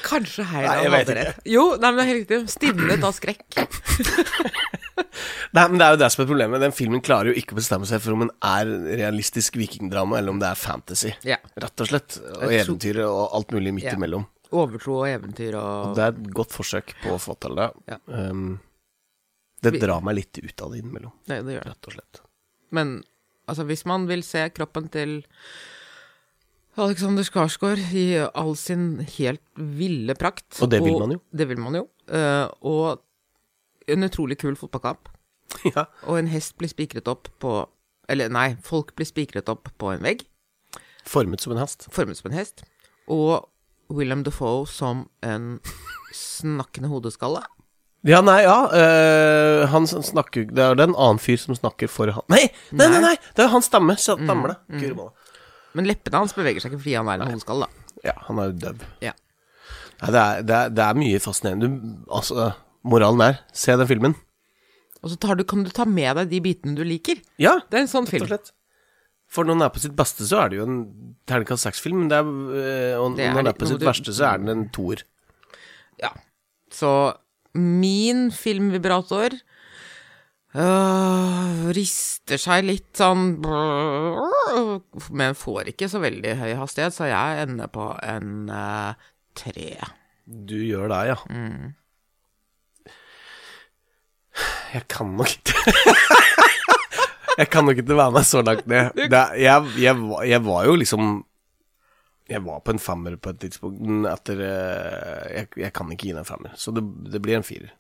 Speaker 1: Kanskje
Speaker 2: Nei, jeg
Speaker 1: Heyerdahl
Speaker 2: vet
Speaker 1: hadde rett. Jo, nei, men det er helt riktig. Stivnet av skrekk.
Speaker 2: [LAUGHS] Nei, men det er jo det som er problemet. Den filmen klarer jo ikke å bestemme seg for om den er realistisk vikingdrama, eller om det er fantasy.
Speaker 1: Ja.
Speaker 2: Rett og slett. Og
Speaker 1: Jeg tror-
Speaker 2: eventyret og alt mulig midt
Speaker 1: Ja.
Speaker 2: imellom.
Speaker 1: Overtro og eventyr og
Speaker 2: Det er et godt forsøk på å få til det.
Speaker 1: Ja.
Speaker 2: Um, det
Speaker 1: Vi-
Speaker 2: drar meg litt ut av det innimellom,
Speaker 1: Nei, det gjør det.
Speaker 2: rett og slett. [LAUGHS]
Speaker 1: Men altså, hvis man vil se kroppen til Alexander Skarsgård i all sin helt ville prakt
Speaker 2: Og det vil man jo.
Speaker 1: Det vil man jo. eh, og en utrolig kul fotballkamp.
Speaker 2: ja.
Speaker 1: Og en hest blir spikret opp på Eller nei, folk blir spikret opp på en vegg.
Speaker 2: Formet som en hest.
Speaker 1: formet som en hest, og William Defoe som en snakkende hodeskalle.
Speaker 2: Ja, nei, ja. øh, han som snakker Det er det en annen fyr som snakker for han Nei, nei, nei! nei det er hans stemme. så
Speaker 1: Mm,
Speaker 2: Stammer det. Guri malla.
Speaker 1: Men leppene hans beveger seg ikke fordi han er en hodeskalle, da.
Speaker 2: Ja, han er jo døv.
Speaker 1: Ja.
Speaker 2: Nei, det er, det, er, det er mye fascinerende. Du, altså, moralen er se den filmen.
Speaker 1: Og så tar du, kan du ta med deg de bitene du liker.
Speaker 2: Ja,
Speaker 1: Det er en sånn
Speaker 2: rett og
Speaker 1: film.
Speaker 2: slett. For når den er på sitt beste, så er det jo en terningkast seks-film. Men det er, øh, og
Speaker 1: Det er
Speaker 2: når
Speaker 1: litt-
Speaker 2: den er på
Speaker 1: når
Speaker 2: sitt
Speaker 1: du-
Speaker 2: verste, så er den en toer.
Speaker 1: Ja. Så min filmvibrator øh, rister seg litt sånn brrr, Men får ikke så veldig høy hastighet, så jeg ender på en eh, tre.
Speaker 2: Du gjør det, ja. Jeg kan nok ikke [LAUGHS] Jeg kan nok ikke være meg så langt ned. Det, er- jeg, jeg, var- jeg var jo liksom Jeg var på en femmer på et tidspunkt men etter eh, Jeg, jeg kan ikke gi den en femmer, så det, det blir en firer.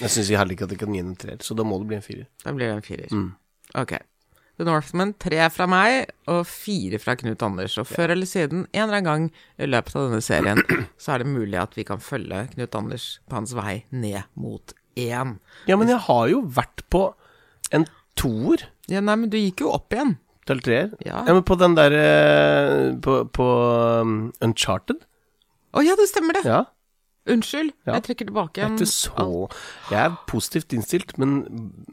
Speaker 2: Jeg syns heller ikke at jeg kan gi den en treer, så da må det bli en firer.
Speaker 1: Da blir det en firer.
Speaker 2: Mm.
Speaker 1: Ok. The Northman, tre fra meg og fire fra Knut Anders. Og før eller siden, en eller annen gang i løpet av denne
Speaker 2: [CLEARS THROAT]
Speaker 1: serien, så er det mulig at vi kan følge Knut Anders på hans vei ned mot én.
Speaker 2: Ja, men jeg har jo vært på en toer
Speaker 1: Ja, nei, men du gikk jo opp igjen.
Speaker 2: til treer.
Speaker 1: Ja.
Speaker 2: men på den derre På, på um, Uncharted.
Speaker 1: Å ja, det stemmer det.
Speaker 2: Ja.
Speaker 1: Unnskyld,
Speaker 2: Ja.
Speaker 1: jeg trekker tilbake
Speaker 2: Jeg er
Speaker 1: en
Speaker 2: ikke så Jeg er positivt innstilt, men,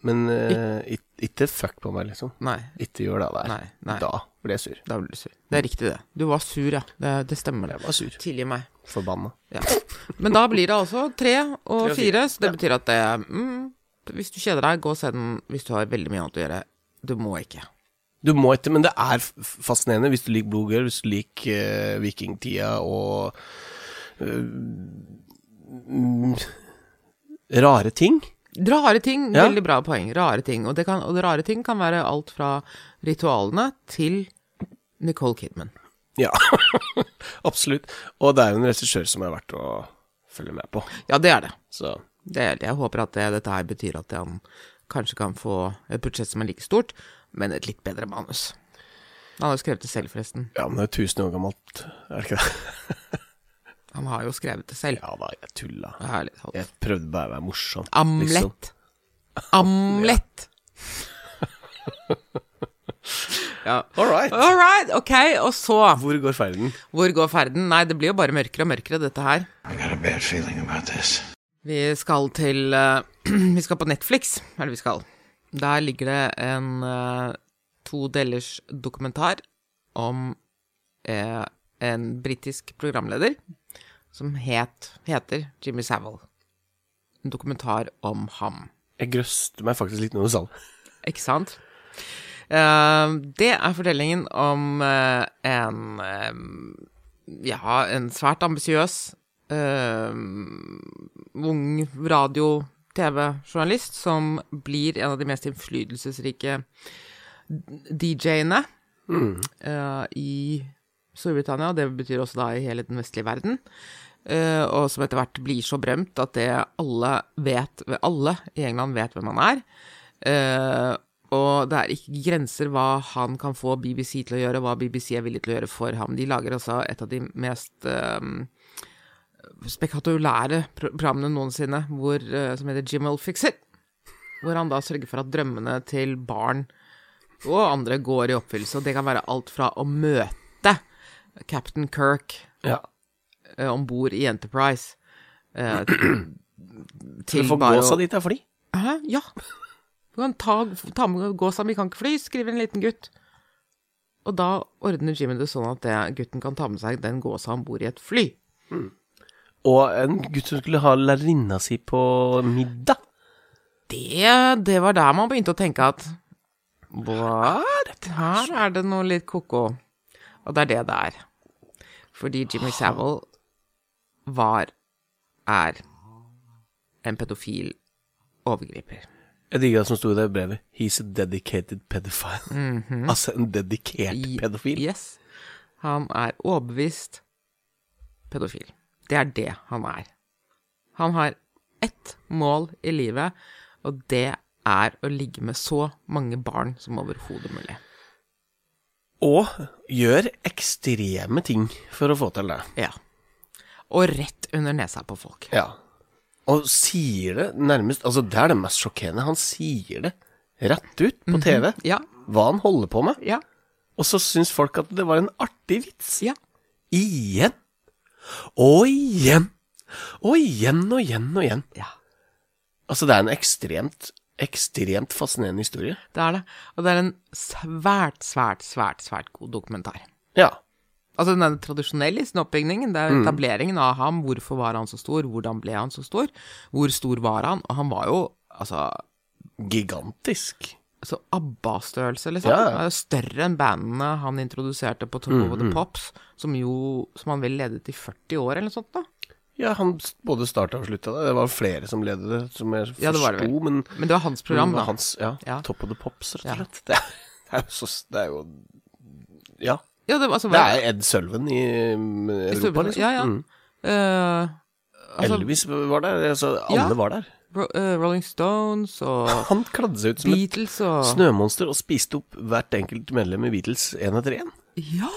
Speaker 2: men eh, it- ikke fuck på meg, liksom.
Speaker 1: Nei,
Speaker 2: Ikke gjør det der.
Speaker 1: Nei, nei.
Speaker 2: Da ble jeg sur.
Speaker 1: da ble du sur. Det er riktig, det. Du var sur, ja. Det, det stemmer, det.
Speaker 2: Jeg var sur.
Speaker 1: Tilgi meg.
Speaker 2: Forbanna.
Speaker 1: Ja. Men da blir det altså tre og
Speaker 2: og
Speaker 1: fire, så det betyr at det mm, Hvis du kjeder deg, gå og se den hvis du har veldig mye annet å gjøre. Du må ikke.
Speaker 2: Du må ikke, men det er f- fascinerende hvis du liker Blue Girl, hvis du liker eh, vikingtida og eh, mm, Rare ting.
Speaker 1: Rare ting,
Speaker 2: Ja.
Speaker 1: veldig bra poeng. Rare ting. Og det, kan, og det rare ting kan være alt fra ritualene til Nicole Kidman.
Speaker 2: Ja, [LAUGHS] absolutt. Og det er jo en regissør som er verdt å følge med på.
Speaker 1: Ja, det er det.
Speaker 2: Så
Speaker 1: det, er det. Jeg håper at det, dette her betyr at han kanskje kan få et budsjett som er like stort, men et litt bedre manus. Han har jo skrevet det selv, forresten.
Speaker 2: Ja, men det er jo 1000 år gammelt, er det ikke det? [LAUGHS]
Speaker 1: Han har jo skrevet det selv.
Speaker 2: Ja da, jeg tulla.
Speaker 1: Det er litt
Speaker 2: Jeg
Speaker 1: halvt.
Speaker 2: prøvde bare å være morsom. liksom.
Speaker 1: Amlett. Amlett. ja.
Speaker 2: All right.
Speaker 1: All right, ok. Og så,
Speaker 2: Hvor går ferden?
Speaker 1: hvor går ferden? Nei, det blir jo bare mørkere og mørkere, dette her.
Speaker 3: I got a bad feeling about this.
Speaker 1: Vi skal til eh, [CLEARS THROAT] Vi skal på Netflix, er det vi skal. Der ligger det en eh, to delers dokumentar om eh, en britisk programleder som het, heter Jimmy Savile. En dokumentar om ham.
Speaker 2: Jeg grøste meg faktisk litt når du sa det.
Speaker 1: Ikke sant? Eh, det er fortellingen om eh, en eh, Ja, en svært ambisiøs eh, ung radio-, TV-journalist som blir en av de mest innflytelsesrike DJ-ene eh, i Storbritannia, og det betyr også da i hele den vestlige verden. eh, og som etter hvert blir så berømt at det alle vet Alle i England vet hvem han er. Eh, og det er ikke grenser hva han kan få BBC til å gjøre, hva BBC er villig til å gjøre for ham. De lager altså et av de mest eh, spektakulære pro- programmene noensinne, hvor, eh, som heter Jim will fix it. Hvor han da sørger for at drømmene til barn og andre går i oppfyllelse. Og det kan være alt fra å møte Captain Kirk
Speaker 2: Ja.
Speaker 1: eh, om bord i Enterprise eh,
Speaker 2: Du
Speaker 1: til
Speaker 2: får
Speaker 1: bare
Speaker 2: gåsa
Speaker 1: å
Speaker 2: dit, jeg, fordi
Speaker 1: Hæ? Ja. Du kan ta, ta med gåsa mi, kan ikke fly, skriver en liten gutt. Og da ordner Jimmy det sånn at det, gutten kan ta med seg den gåsa om bord i et fly.
Speaker 2: Og en gutt som skulle ha lærerinna si på middag.
Speaker 1: Det, det var der man begynte å tenke at What? Her er det noe litt ko-ko. Og det er det det er. Fordi Jimmy Savile var er en pedofil overgriper.
Speaker 2: Jeg digger det som sto i det brevet. He's a dedicated pedophile.
Speaker 1: Mhm.
Speaker 2: Altså en dedikert
Speaker 1: I-
Speaker 2: pedofil.
Speaker 1: Yes. Han er overbevist pedofil. Det er det han er. Han har ett mål i livet, og det er å ligge med så mange barn som overhodet mulig.
Speaker 2: Og gjør ekstreme ting for å få til det.
Speaker 1: Ja. Og rett under nesa på folk.
Speaker 2: Ja. Og sier det nærmest Altså, det er det mest sjokkerende. Han sier det rett ut
Speaker 1: Mhm.
Speaker 2: på TV,
Speaker 1: Ja.
Speaker 2: hva han holder på med.
Speaker 1: Ja.
Speaker 2: Og så syns folk at det var en artig vits.
Speaker 1: Ja.
Speaker 2: Igjen. Og igjen. Og igjen og igjen og igjen.
Speaker 1: ja.
Speaker 2: Altså, det er en ekstremt, ekstremt fascinerende historie.
Speaker 1: Det er det. Og det er en svært, svært, svært, svært god dokumentar.
Speaker 2: Ja.
Speaker 1: Altså den tradisjonelle oppbyggingen, det er
Speaker 2: Mm.
Speaker 1: jo etableringen av ham. Hvorfor var han så stor? Hvordan ble han så stor? Hvor stor var han? Og han var jo altså
Speaker 2: Gigantisk.
Speaker 1: så ABBA-størrelse, liksom.
Speaker 2: Ja, ja.
Speaker 1: Han er jo Større enn bandene han introduserte på Tour
Speaker 2: Mm-hmm.
Speaker 1: of the Pops, som jo Som han vel ledet i 40 år, eller noe sånt, da.
Speaker 2: Ja, han s- både starta og slutta det. Det var flere som ledet det, som jeg forsto,
Speaker 1: Ja, det var det vel.
Speaker 2: men
Speaker 1: Men det var hans program,
Speaker 2: men
Speaker 1: da.
Speaker 2: Mm, Hans, ja,
Speaker 1: Ja.
Speaker 2: Top of the Pops, rett og
Speaker 1: Ja.
Speaker 2: slett. Det, er, [LAUGHS] det er jo så s- Det er jo Ja.
Speaker 1: Ja, det, var- altså,
Speaker 2: Det
Speaker 1: var-
Speaker 2: er Ed Sølven i um,
Speaker 1: i
Speaker 2: Europa,
Speaker 1: Storbritannia.
Speaker 2: liksom.
Speaker 1: Ja, ja.
Speaker 2: Mm.
Speaker 1: Eh, altså,
Speaker 2: Elvis var der. Altså, alle
Speaker 1: Ja.
Speaker 2: var der.
Speaker 1: Ro- eh, Rolling Stones og
Speaker 2: Han kladde seg ut som et
Speaker 1: Beatles og
Speaker 2: snømonster og spiste opp hvert enkelt medlem i Beatles én etter én.
Speaker 1: Ja!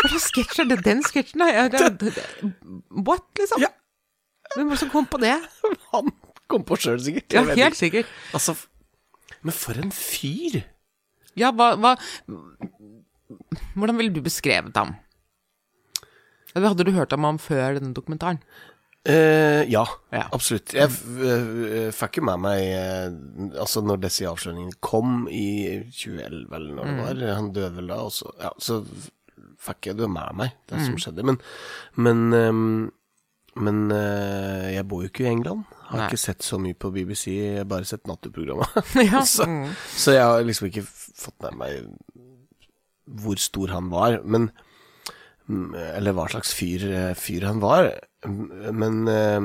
Speaker 1: Hva slags sketsj er det? Den sketsjen, da? Ja, det- det- det- What, liksom?
Speaker 2: Ja.
Speaker 1: Hvem var det som kom på det?
Speaker 2: [LAUGHS] Han kom på sjøl, sikkert.
Speaker 1: Ja,
Speaker 2: Jeg vet
Speaker 1: helt
Speaker 2: ikke.
Speaker 1: sikkert.
Speaker 2: Altså, f- men for en fyr!
Speaker 1: Ja, hva, hva Hvordan ville du beskrevet ham? Eller hadde du hørt om ham før denne dokumentaren? [LAUGHS]
Speaker 2: Eh, ja,
Speaker 1: Ja.
Speaker 2: absolutt. Jeg f- eh, eh, fikk jo med meg eh, Altså, når disse avsløringene kom i 2011, eller når
Speaker 1: Mm.
Speaker 2: det var Han døde vel da, og så Ja, så f- fikk jeg det med meg, det
Speaker 1: Mm.
Speaker 2: som skjedde. Men Men, ehm, men eh, jeg bor jo ikke i England. Har
Speaker 1: Nei.
Speaker 2: ikke sett så mye på BBC, jeg har bare sett [LAUGHS] Natteprogrammet.
Speaker 1: ja.
Speaker 2: så,
Speaker 1: mm.
Speaker 2: så jeg har liksom ikke f- fått med meg hvor stor han var, men mm, Eller hva slags fyr, eh, fyr han var. M- Men eh,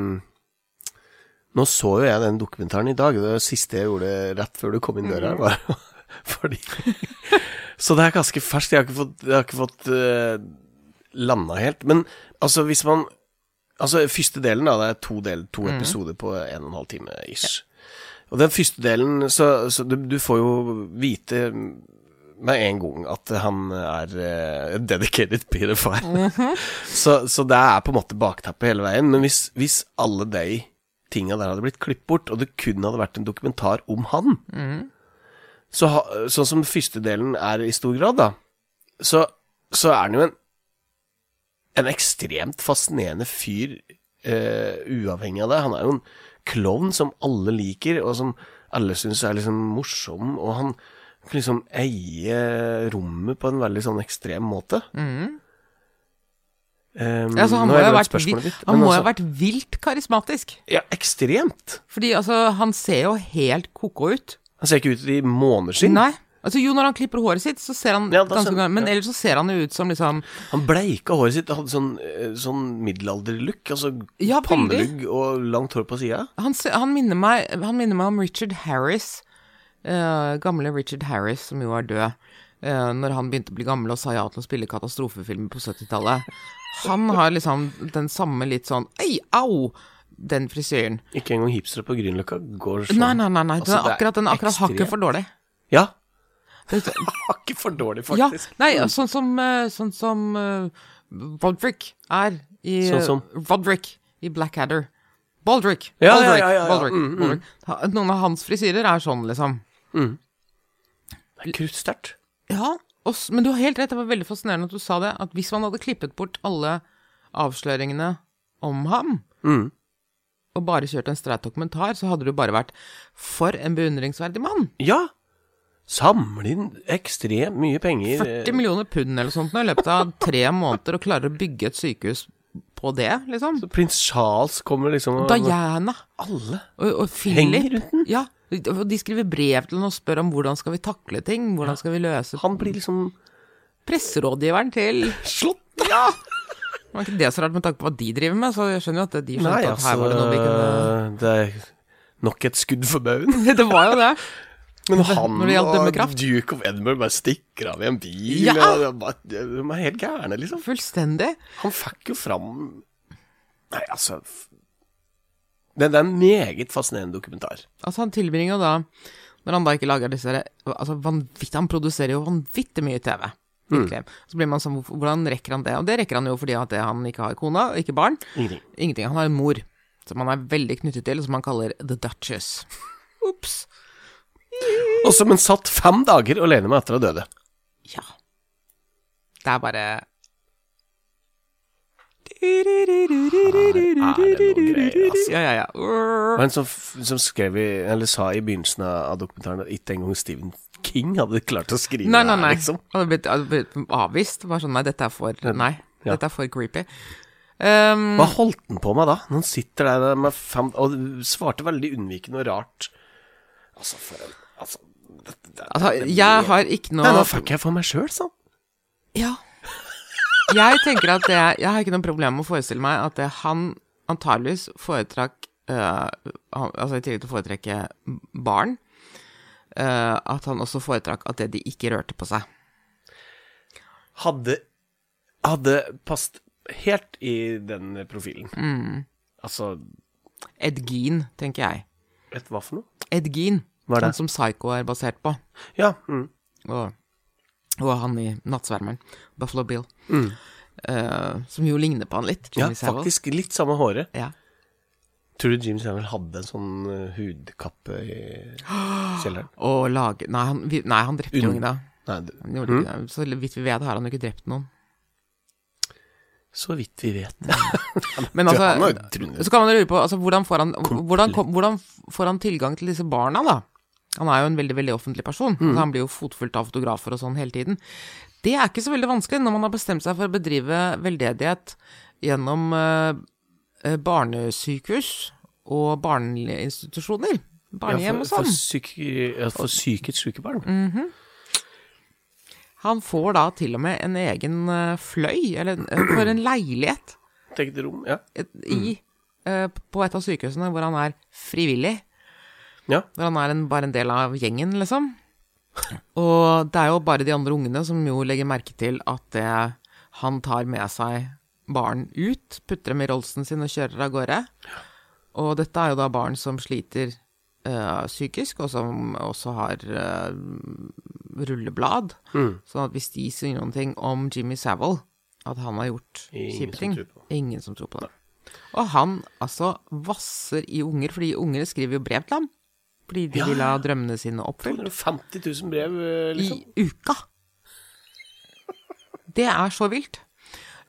Speaker 2: nå så jo jeg den dokumentaren i dag, og det siste jeg gjorde rett før du kom inn døra, var [LAUGHS] fordi Så det er ganske ferskt. Jeg har ikke fått, jeg har ikke fått eh, landa helt. Men altså, hvis man Altså, første delen, da, det er to, del, to episoder på en og en halv time ish. Og den første delen, så, så du, du får jo vite med en gang at han er eh, dedicated pedophile. så, så det er på en måte bakteppet hele veien. Men hvis, hvis alle de tinga der hadde blitt klippet bort, og det kun hadde vært en dokumentar om han, så ha, sånn som første delen er i stor grad, da, så, så er han jo en, en ekstremt fascinerende fyr eh, uavhengig av det. Han er jo en klovn som alle liker, og som alle syns er liksom morsom, og han kan liksom eie rommet på en veldig sånn ekstrem måte. Um,
Speaker 1: altså, Mm. han
Speaker 2: nå
Speaker 1: må
Speaker 2: har
Speaker 1: jo ha
Speaker 2: jeg
Speaker 1: vært,
Speaker 2: glemt
Speaker 1: vi-
Speaker 2: spørsmålet ditt,
Speaker 1: han
Speaker 2: men
Speaker 1: må jo
Speaker 2: altså-
Speaker 1: ha vært vilt karismatisk.
Speaker 2: Ja, ekstremt.
Speaker 1: Fordi altså, han ser jo helt koko ut.
Speaker 2: Han ser ikke ut i måneskinn.
Speaker 1: Nei. Altså, jo, når han klipper håret sitt, så ser han
Speaker 2: Mm. Ja, da
Speaker 1: ganske
Speaker 2: ser-
Speaker 1: gammel Men
Speaker 2: ja.
Speaker 1: ellers så ser han jo ut som liksom
Speaker 2: Han bleika håret sitt og hadde sånn, eh, sånn middelalderlook. Altså
Speaker 1: Ja, veldig.
Speaker 2: pannelugg og langt hår på sida.
Speaker 1: Han, se- han, minner, meg, han minner meg om Richard Harris. eh, gamle Richard Harris, som jo er død. eh, når han begynte å bli gammel og sa ja til å spille katastrofefilmer på 70-tallet. Han har liksom den samme litt sånn Ei, au! Den frisyren.
Speaker 2: Ikke engang hipstere på Grünerløkka går sånn.
Speaker 1: Nei, nei, nei. nei. Den
Speaker 2: Altså,
Speaker 1: er
Speaker 2: det er
Speaker 1: akkurat, den er akkurat hakket for dårlig.
Speaker 2: Ja. [LAUGHS]
Speaker 1: Det-
Speaker 2: Hakket for dårlig,
Speaker 1: Ja,
Speaker 2: faktisk. Mm.
Speaker 1: nei, sånn som, eh, sånn som eh, Roderick er i
Speaker 2: Sånn som?
Speaker 1: Roderick i Blackadder. Baldrick.
Speaker 2: Ja,
Speaker 1: Baldrick,
Speaker 2: ja, ja, ja, ja.
Speaker 1: Baldrick,
Speaker 2: Mm, mm.
Speaker 1: Baldrick. Ha- Noen av hans frisyrer er sånn, liksom.
Speaker 2: Det er kruttsterkt.
Speaker 1: Ja, og, s- men du har helt rett, det var veldig fascinerende at du sa det, at hvis man hadde klippet bort alle avsløringene om ham,
Speaker 2: Mm.
Speaker 1: og bare kjørt en streit dokumentar, så hadde du bare vært for en beundringsverdig mann.
Speaker 2: Ja. Samle inn ekstremt mye penger. eh,
Speaker 1: 40 millioner pund eller sånt nå i løpet av tre [LAUGHS] måneder, og klarer å bygge et sykehus på det, liksom.
Speaker 2: Prins Charles kommer liksom og
Speaker 1: Diana
Speaker 2: Alle.
Speaker 1: og, og Philip.
Speaker 2: rundt den.
Speaker 1: Ja, og de skriver brev til han og spør om hvordan skal vi takle ting, hvordan skal vi løse
Speaker 2: Han blir liksom
Speaker 1: Presserådgiveren til
Speaker 2: slått.
Speaker 1: Det var ikke det så rart med tanke på hva de driver med, så jeg skjønner jo at de skjønte
Speaker 2: Nei,
Speaker 1: at her var det noe vi
Speaker 2: [LAUGHS]
Speaker 1: kunne
Speaker 2: altså Det er nok et skudd for baugen.
Speaker 1: [LAUGHS] Det var jo det.
Speaker 2: Men han
Speaker 1: når det gjaldt
Speaker 2: og
Speaker 1: dømmekraft.
Speaker 2: Duke of Edinburgh bare stikker av i en bil.
Speaker 1: Ja.
Speaker 2: og det er bare- De er helt gærne, liksom.
Speaker 1: Fullstendig.
Speaker 2: Han fikk jo fram Nei, altså f- Det, det er en meget fascinerende dokumentar.
Speaker 1: Altså, han tilbringer jo da Når han da ikke lager disse Altså, vanvittig Han produserer jo vanvittig mye TV. Virkelig.
Speaker 2: Mm.
Speaker 1: Så blir man sånn hvorfor- Hvordan rekker han det? Og det rekker han jo fordi at det, han ikke har kone og ikke barn.
Speaker 2: Ingenting.
Speaker 1: Ingenting. Han har en mor som han er veldig knyttet til, og som han kaller The Duchess. Ops.
Speaker 2: Og som en satt fem dager alene med etter å ha døde.
Speaker 1: Ja. Det er bare
Speaker 2: Her er det noen greier, altså.
Speaker 1: Ja, ja, ja.
Speaker 2: Og en som, f- som skrev i, eller sa i begynnelsen av av dokumentaren at ikke engang Steven King hadde klart å skrive
Speaker 1: Nei, nei, nei.
Speaker 2: her, liksom.
Speaker 1: Han hadde blitt, hadde blitt avvist. Bare sånn Nei, dette er for Nei,
Speaker 2: Ja.
Speaker 1: dette er for creepy. Ehm,
Speaker 2: Hva holdt han på med da? Når han sitter der med fem Og svarte veldig unnvikende og rart. Altså, for en Altså, dette, det,
Speaker 1: altså, jeg har ikke
Speaker 2: Nei,
Speaker 1: noe
Speaker 2: nå fucker jeg for meg sjøl, sa han.
Speaker 1: Ja. [LAUGHS] Jeg tenker at det Jeg har ikke noe problem med å forestille meg at det han antageligvis foretrakk eh, han, Altså i tillegg til å foretrekke barn, eh, at han også foretrakk at det de ikke rørte på seg.
Speaker 2: Hadde Hadde passet helt i den profilen.
Speaker 1: Mm.
Speaker 2: Altså,
Speaker 1: Edgin, tenker jeg.
Speaker 2: vet du hva for noe?
Speaker 1: Edgin.
Speaker 2: Hva er det?
Speaker 1: Han som Psycho er basert på.
Speaker 2: Ja. Mm.
Speaker 1: Og, og han i Nattsvermeren. Buffalo Bill. Eh, som jo ligner på han litt.
Speaker 2: Mm. ja
Speaker 1: Jimmy Savile.
Speaker 2: faktisk litt samme håret.
Speaker 1: Ja.
Speaker 2: Tror du Jim Samuel hadde en sånn eh, hudkappe
Speaker 1: [GASPS]
Speaker 2: i kjelleren?
Speaker 1: Og lage... Nei, han, vi- nei, han drepte jo
Speaker 2: Un-
Speaker 1: ingen da.
Speaker 2: Nei, det-
Speaker 1: Han gjorde
Speaker 2: Mm.
Speaker 1: ikke det. Så vidt vi vet, har han jo ikke drept noen.
Speaker 2: så vidt vi vet.
Speaker 1: Men
Speaker 2: Du,
Speaker 1: altså,
Speaker 2: han har jo trynet.
Speaker 1: så kan man lure på altså, hvordan, får han, hvordan, kom- hvordan får han tilgang til disse barna, da? Han er jo en veldig veldig offentlig person.
Speaker 2: Mm.
Speaker 1: Altså, han blir jo fotfulgt av fotografer og sånn hele tiden. Det er ikke så veldig vanskelig når man har bestemt seg for å bedrive veldedighet gjennom eh, eh, barnesykehus og barneinstitusjoner. Barnehjem og
Speaker 2: for, for,
Speaker 1: sånn.
Speaker 2: psyki- ja, for psykisk syke barn.
Speaker 1: Mm. Han får da til og med en egen eh, fløy, eller en- for en leilighet.
Speaker 2: Et eget rom, ja.
Speaker 1: et, i,
Speaker 2: Mm.
Speaker 1: eh, på et av sykehusene hvor han er frivillig.
Speaker 2: Ja.
Speaker 1: Hvor han er en, bare en del av gjengen, liksom. Og det er jo bare de andre ungene som jo legger merke til at det, han tar med seg barn ut, putter dem i rollsen sin og kjører av gårde. Og dette er jo da barn som sliter eh, psykisk, og som også har eh, rulleblad.
Speaker 2: Mm.
Speaker 1: Sånn at hvis de sier noen ting om Jimmy Savile, at han har gjort
Speaker 2: Ingen
Speaker 1: kjipe
Speaker 2: som
Speaker 1: ting
Speaker 2: tror på
Speaker 1: Ingen som tror på det. Og han altså vasser i unger, fordi unger skriver jo brev til ham. Fordi de vil ha drømmene sine oppfylt.
Speaker 2: 150 000 brev, eh,
Speaker 1: I
Speaker 2: liksom.
Speaker 1: uka! Det er så vilt.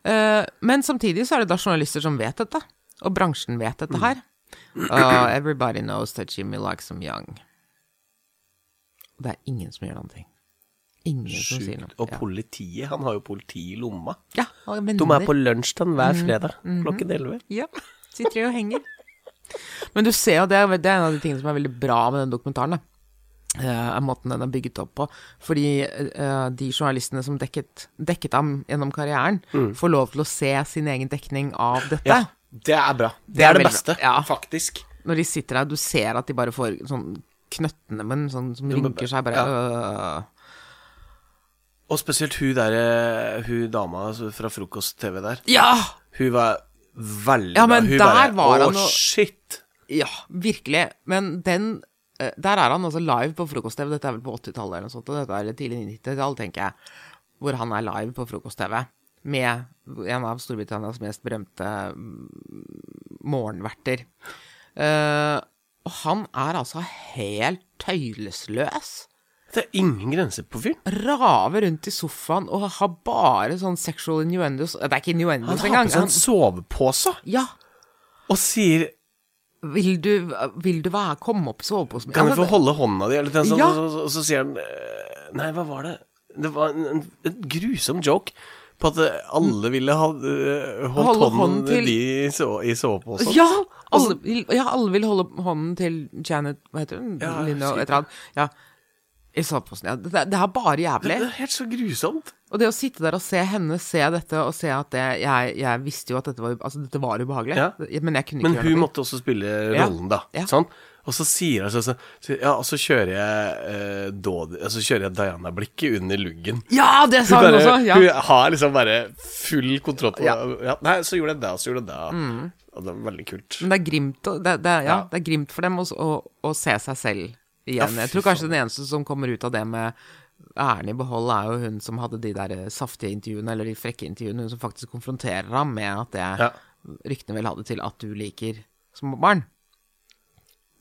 Speaker 1: Eh, men samtidig så er det da journalister som vet dette. Og bransjen vet
Speaker 2: Mm.
Speaker 1: dette her. Uh, everybody knows that Jimmy likes them young. Og det er ingen som gjør noen ting. Ingen som sier noe.
Speaker 2: Sjukt. Og politiet. Han har jo politi i lomma.
Speaker 1: ja. ja, og venner.
Speaker 2: De er på lunsjtid hver
Speaker 1: Mm.
Speaker 2: fredag
Speaker 1: Mm-hmm.
Speaker 2: klokken 11.
Speaker 1: Ja. [LAUGHS] Sitter de og henger. Men du ser jo, det er, det er en av de tingene som er veldig bra med den dokumentaren. da. Eh, er måten den er bygget opp på. Fordi eh, de journalistene som dekket, dekket ham gjennom karrieren, får lov til å se sin egen dekning av dette.
Speaker 2: Ja, det er bra. Det,
Speaker 1: er
Speaker 2: er det
Speaker 1: veldig
Speaker 2: beste,
Speaker 1: bra. Ja.
Speaker 2: faktisk.
Speaker 1: Når de sitter der, du ser at de bare får sånn knøttene, men sånn som
Speaker 2: må
Speaker 1: rynker seg, bare øh.
Speaker 2: Og spesielt hun der, eh, hun dama fra frokost-TV der.
Speaker 1: Ja!
Speaker 2: Hun var veldig
Speaker 1: Ja, men
Speaker 2: bra. Hun
Speaker 1: der
Speaker 2: bare,
Speaker 1: var han
Speaker 2: Å,
Speaker 1: og-
Speaker 2: shit!
Speaker 1: Ja, virkelig. Men den eh, Der er han altså live på frokost-TV. Dette er vel på 80-tallet eller noe sånt, og dette er tidlig 90-tall, tenker jeg. Hvor han er live på frokost-TV med en av Storbritannias mest berømte mm, morgenverter. Eh, og han er altså helt tøylesløs.
Speaker 2: Det er ingen grenser på fyren.
Speaker 1: Raver rundt i sofaen og har bare sånn sexual innuendos Det er ikke
Speaker 2: Han
Speaker 1: innuendos
Speaker 2: har
Speaker 1: engang.
Speaker 2: på seg en
Speaker 1: Han-
Speaker 2: sovepose
Speaker 1: Ja.
Speaker 2: og sier
Speaker 1: Vil du, vil du være, komme opp i soveposen?
Speaker 2: Kan jeg
Speaker 1: Altså,
Speaker 2: få holde hånda di? Eller noe sånt,
Speaker 1: Ja.
Speaker 2: og, så, og så sier han eh, Nei, hva var det? Det var en, en, en grusom joke på at eh, alle ville ha eh, holdt
Speaker 1: Holde
Speaker 2: hånden,
Speaker 1: hånden til-
Speaker 2: til de i so- i soveposen.
Speaker 1: Ja alle, vil, ja, alle vil holde hånden til Janet Hva heter hun?
Speaker 2: Ja, jeg
Speaker 1: Lino,
Speaker 2: husker
Speaker 1: et eller annet. Ja. I soveposen. Ja. Det, det er bare
Speaker 2: Det
Speaker 1: jævlig.
Speaker 2: er helt så grusomt.
Speaker 1: Og det å sitte der og se henne se dette, og se at det Jeg, jeg visste jo at dette var, altså, dette var ubehagelig,
Speaker 2: Ja.
Speaker 1: men jeg kunne ikke
Speaker 2: Men
Speaker 1: gjøre
Speaker 2: hun
Speaker 1: noe.
Speaker 2: måtte også spille
Speaker 1: Ja.
Speaker 2: rollen, da.
Speaker 1: Ja.
Speaker 2: Sånn. Og så sier hun sånn så, Ja, og så kjører jeg eh, Dodi- altså, kjører jeg Diana-blikket under luggen.
Speaker 1: Ja, det
Speaker 2: Hun,
Speaker 1: sa hun
Speaker 2: bare,
Speaker 1: også! Ja.
Speaker 2: hun har liksom bare full kontroll på ja.
Speaker 1: Ja. Mm.
Speaker 2: Nei, så gjorde jeg det, og så gjorde jeg det. Og det var veldig kult.
Speaker 1: Men det er grimt, å- det, det, er- ja,
Speaker 2: Ja.
Speaker 1: det er grimt for dem å, å, å se seg selv
Speaker 2: Ja,
Speaker 1: igjen.
Speaker 2: fy
Speaker 1: Jeg tror kanskje den eneste som kommer ut av det med æren i behold, er jo hun som hadde de der eh, saftige intervjuene, eller de frekke intervjuene, hun som faktisk konfronterer ham med at det
Speaker 2: Ja.
Speaker 1: ryktene vel hadde til at du liker små barn.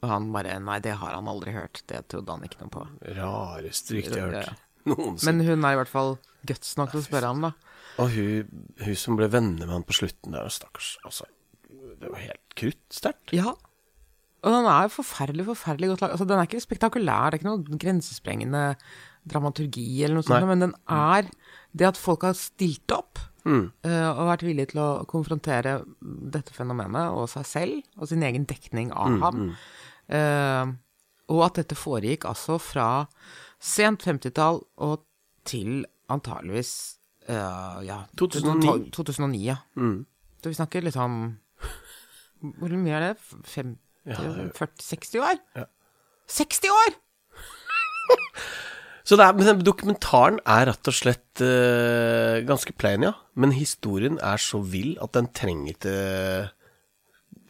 Speaker 1: Og han bare Nei, det har han aldri hørt. Det trodde han ikke noe på.
Speaker 2: Rareste rykte jeg har
Speaker 1: Ja.
Speaker 2: hørt. Noensinne.
Speaker 1: Men hun er i hvert fall guts nok til å spørre ham, da.
Speaker 2: Og hun, hun som ble venner med han på slutten der, stakkars. Altså, det var helt kruttsterkt.
Speaker 1: Ja. Og den er jo forferdelig, forferdelig godt laget. Altså, den er ikke spektakulær, det er ikke noe grensesprengende dramaturgi eller noe sånt,
Speaker 2: Nei.
Speaker 1: men den er det at folk har stilt opp eh, og vært villige til å konfrontere dette fenomenet og seg selv og sin egen dekning av ham. Eh, og at dette foregikk altså fra sent 50-tall og til antageligvis eh, ja,
Speaker 2: 2009.
Speaker 1: 2009, ja. Så vi snakker liksom Hvor mye er det? 50,
Speaker 2: det
Speaker 1: 40, 60 år? 60 år!
Speaker 2: Så det er, men den dokumentaren er rett og slett eh, ganske plain, ja. Men historien er så vill at den trenger ikke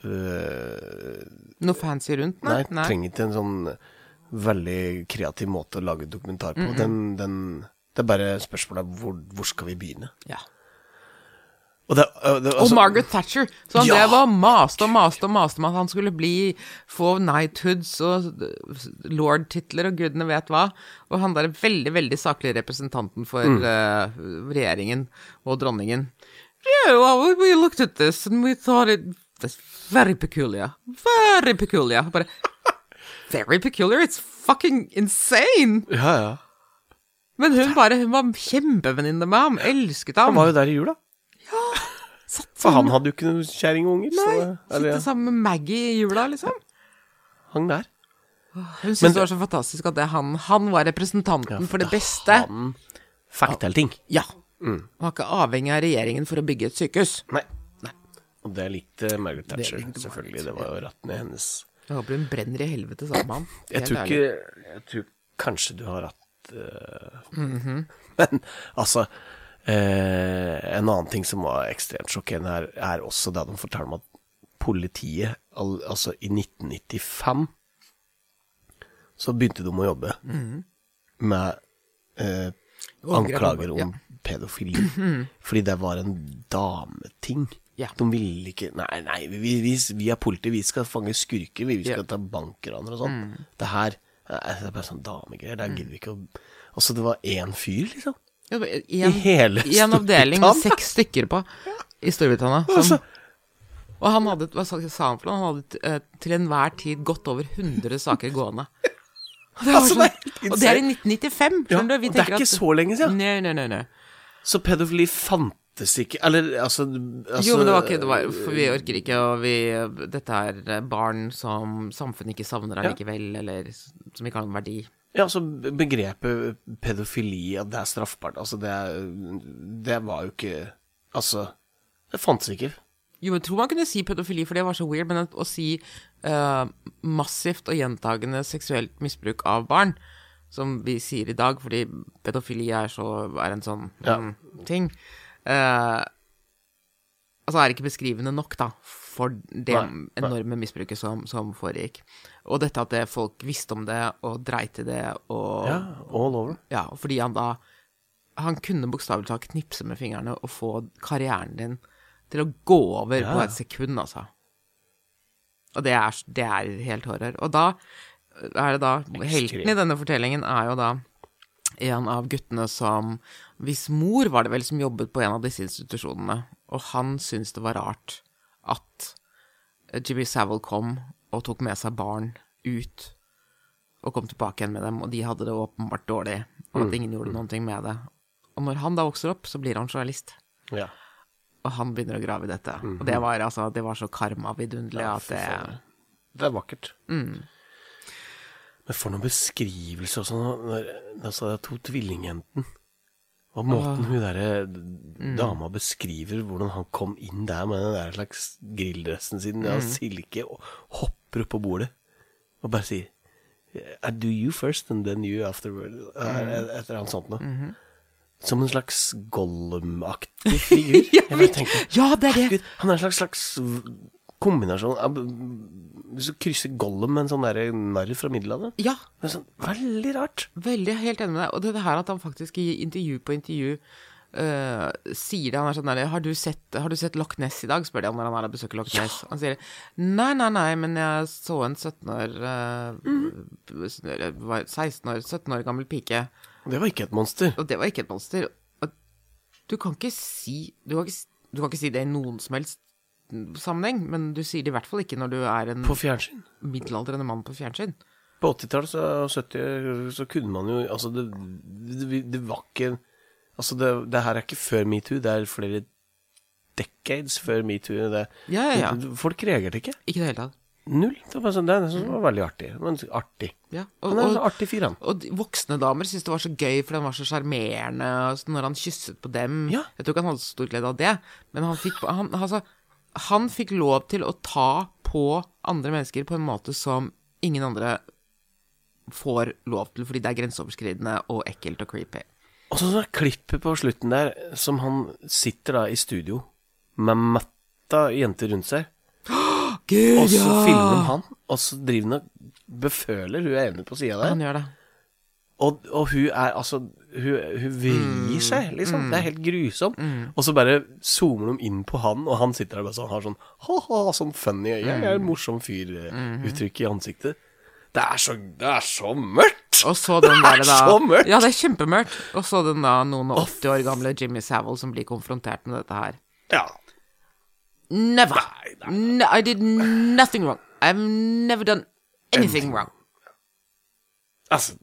Speaker 2: eh,
Speaker 1: Noe fancy rundt?
Speaker 2: Nei, trenger ikke en sånn veldig kreativ måte å lage dokumentar på.
Speaker 1: Mhm.
Speaker 2: den, den, det er bare spørsmålet er hvor, hvor skal vi begynne?
Speaker 1: Ja.
Speaker 2: Og, det, eh, det-
Speaker 1: Og
Speaker 2: altså-
Speaker 1: Margaret Thatcher, som han
Speaker 2: Ja!
Speaker 1: drev og maste og maste og maste om at han skulle bli få knighthoods og lord-titler og gudene vet hva. Og han der veldig, veldig saklige representanten for
Speaker 2: Mm.
Speaker 1: eh, regjeringen og dronningen. Yeah, well, we- we looked at this and we thought it that's very peculiar. Very peculiar. Bare, [LAUGHS] very peculiar? It's fucking insane!
Speaker 2: Ja, ja.
Speaker 1: Men hun bare, hun var kjempevenninne med ham, elsket ham.
Speaker 2: Han var jo der i jula.
Speaker 1: satt
Speaker 2: For han
Speaker 1: sammen,
Speaker 2: hadde jo ikke noen kjerring og unger.
Speaker 1: nei,
Speaker 2: så, det- eller,
Speaker 1: sitte
Speaker 2: ja,
Speaker 1: sammen med Maggie i jula, liksom.
Speaker 2: hang der.
Speaker 1: Hun
Speaker 2: Men
Speaker 1: syntes det var så fantastisk at det han, han var representanten for det beste.
Speaker 2: Han fikk til ting.
Speaker 1: Ja. Han var ikke avhengig av regjeringen for å bygge et sykehus.
Speaker 2: Nei. Og det likte Margaret Thatcher,
Speaker 1: likte Margaret,
Speaker 2: selvfølgelig. Det var jo rattene hennes.
Speaker 1: Jeg håper hun brenner i helvete sammen med han.
Speaker 2: Jeg
Speaker 1: Helt
Speaker 2: tror
Speaker 1: ærlig.
Speaker 2: ikke Jeg tror kanskje du har hatt eh, [LAUGHS] Men altså eh, En annen ting som var ekstremt sjokkerende her, er også det de forteller om at politiet, al altså i 1995, så begynte de å jobbe med eh,
Speaker 1: Overgrep,
Speaker 2: anklager om
Speaker 1: ja.
Speaker 2: pedofili. [CLEARS THROAT] Fordi det var en dameting.
Speaker 1: Ja.
Speaker 2: De ville ikke Nei, nei, vi, vi, vi er politi, vi skal fange skurker, vi, vi skal ta bankraner og sånn. Det her eh, det er bare sånn damegreier. Der gidder vi ikke å Altså, det var én fyr, liksom.
Speaker 1: Ja, det var
Speaker 2: I
Speaker 1: en,
Speaker 2: hele
Speaker 1: I en avdeling med
Speaker 2: Storbritannia.
Speaker 1: seks stykker på i Storbritannia.
Speaker 2: Altså,
Speaker 1: Som, og han hadde, hva sa sa han for noe? Han hadde eh, til enhver tid godt over 100 saker
Speaker 2: [LAUGHS]
Speaker 1: gående. Og det, var
Speaker 2: Altså,
Speaker 1: sånn,
Speaker 2: det er helt
Speaker 1: og det er i
Speaker 2: insane.
Speaker 1: 1995, skjønner
Speaker 2: Ja,
Speaker 1: du?
Speaker 2: og det er
Speaker 1: tenker
Speaker 2: ikke
Speaker 1: at-
Speaker 2: så lenge siden.
Speaker 1: Nei, nei, nei. nei.
Speaker 2: så pedofili fantes ikke Eller altså, altså eh,
Speaker 1: jo, men det var ikke det var, For vi orker ikke, og vi Dette er barn som samfunnet ikke savner allikevel, eller som ikke har noen verdi.
Speaker 2: Ja, altså begrepet pedofili, at det er straffbart, altså det er Det var jo ikke Altså, det fantes ikke.
Speaker 1: Jo, men jeg tror man kunne si pedofili, for det var så weird, men at, å si eh, massivt og gjentagende seksuelt misbruk av barn, som vi sier i dag, fordi pedofili er så er en sånn
Speaker 2: Ja.
Speaker 1: mm, ting eh, Altså er ikke beskrivende nok, da, for det
Speaker 2: Nei, nei.
Speaker 1: enorme misbruket som, som foregikk. Og dette at det, folk visste om det, og dreit i det, og
Speaker 2: Ja, all over.
Speaker 1: Ja, og fordi han da Han kunne bokstavelig talt knipse med fingrene og få karrieren din til å gå over på et sekund, altså. Og det er, det er helt horror. Og da er det da Helten i denne fortellingen er jo da en av guttene som Hvis mor var det vel som jobbet på en av disse institusjonene, og han syntes det var rart at Jimmy Savile kom og tok med seg barn ut og kom tilbake igjen med dem, og de hadde det åpenbart dårlig, og at ingen gjorde noen ting med det. Og når han da vokser opp, så blir han journalist,
Speaker 2: Ja.
Speaker 1: og han begynner å grave i dette. Og det var altså, det var så karma-vidunderlig at det Mm.
Speaker 2: Det er vakkert. Men for noen beskrivelser og sånn. når- Altså, det er to tvillingjenten. Og måten hun derre
Speaker 1: Mm.
Speaker 2: dama beskriver hvordan han kom inn der med den der slags grilldressen sin
Speaker 1: Mm.
Speaker 2: av silke, og hopper opp på bordet og bare sier I do you first, and then you afterward. Mm. Et eller annet sånt noe.
Speaker 1: Mhm.
Speaker 2: Som en slags
Speaker 1: [LAUGHS]
Speaker 2: Gollum-aktig figur.
Speaker 1: Ja,
Speaker 2: Jeg bare
Speaker 1: men-
Speaker 2: tenkte,
Speaker 1: ja, det er det!
Speaker 2: Herregud, han er en slags, slags kombinasjon av Hvis du krysser Gollum med en sånn der narr fra middelalderen
Speaker 1: Ja,
Speaker 2: Det er sånn veldig rart.
Speaker 1: Veldig, helt enig med deg. Og det, det her at han faktisk i intervju på intervju eh, sier det. Han er sånn der har du, sett, 'Har du sett Loch Ness i dag?' spør de han når han er og besøker Loch Ness. Han sier 'Nei, nei, nei, men jeg så en 17 år eh, s- eller var 16 år, 17 år gammel pike,
Speaker 2: Det var ikke et monster.
Speaker 1: og det var ikke et monster. Og du kan ikke si Du kan ikke, s- du kan ikke si det i noen som helst sammenheng, men du sier det i hvert fall ikke når du er en
Speaker 2: På fjernsyn.
Speaker 1: middelaldrende mann på fjernsyn.
Speaker 2: På 80-tallet så- og 70 så kunne man jo Altså, det, det, det var ikke Altså, det, det her er ikke før metoo, det er flere decades før metoo. Det,
Speaker 1: Ja, ja, ja.
Speaker 2: Folk reagerte ikke.
Speaker 1: Ikke i det hele tatt.
Speaker 2: Null. Det var, sånn, det er det som var veldig artig. Men artig.
Speaker 1: Ja, og-
Speaker 2: Han er en
Speaker 1: og-
Speaker 2: artig fyr, han.
Speaker 1: Og de voksne damer syntes det var så gøy, for den var så sjarmerende og så når han kysset på dem.
Speaker 2: Ja.
Speaker 1: Jeg tror ikke han hadde så stor glede av det, men han fikk, han, altså, han fikk lov til å ta på andre mennesker på en måte som ingen andre får lov til, fordi det er grenseoverskridende og ekkelt og creepy.
Speaker 2: Og så sånn klippet på slutten der, som han sitter da i studio med matta jenter rundt seg,
Speaker 1: Gud,
Speaker 2: og så filmer de han, og så driver han og beføler hun er enig på sida der.
Speaker 1: Han gjør det.
Speaker 2: Og, og hun er altså Hun, hun
Speaker 1: Mm.
Speaker 2: vrir seg, liksom. Det er helt grusomt. Og så bare zoomer de inn på han, og han sitter der bare sånn, har sånn ha-ha, sånn funny øye. Jeg
Speaker 1: Mm.
Speaker 2: er en morsom fyr-uttrykk i ansiktet. Det er så, det er så mørkt!
Speaker 1: Og så den der,
Speaker 2: [LAUGHS] Det er
Speaker 1: da.
Speaker 2: så mørkt!
Speaker 1: Ja, det er kjempemørkt. Og så den da noen og 80 år gamle Jimmy Savile som blir konfrontert med dette her.
Speaker 2: Ja.
Speaker 1: Never. No, I did nothing wrong. I've never done anything wrong.
Speaker 2: Altså,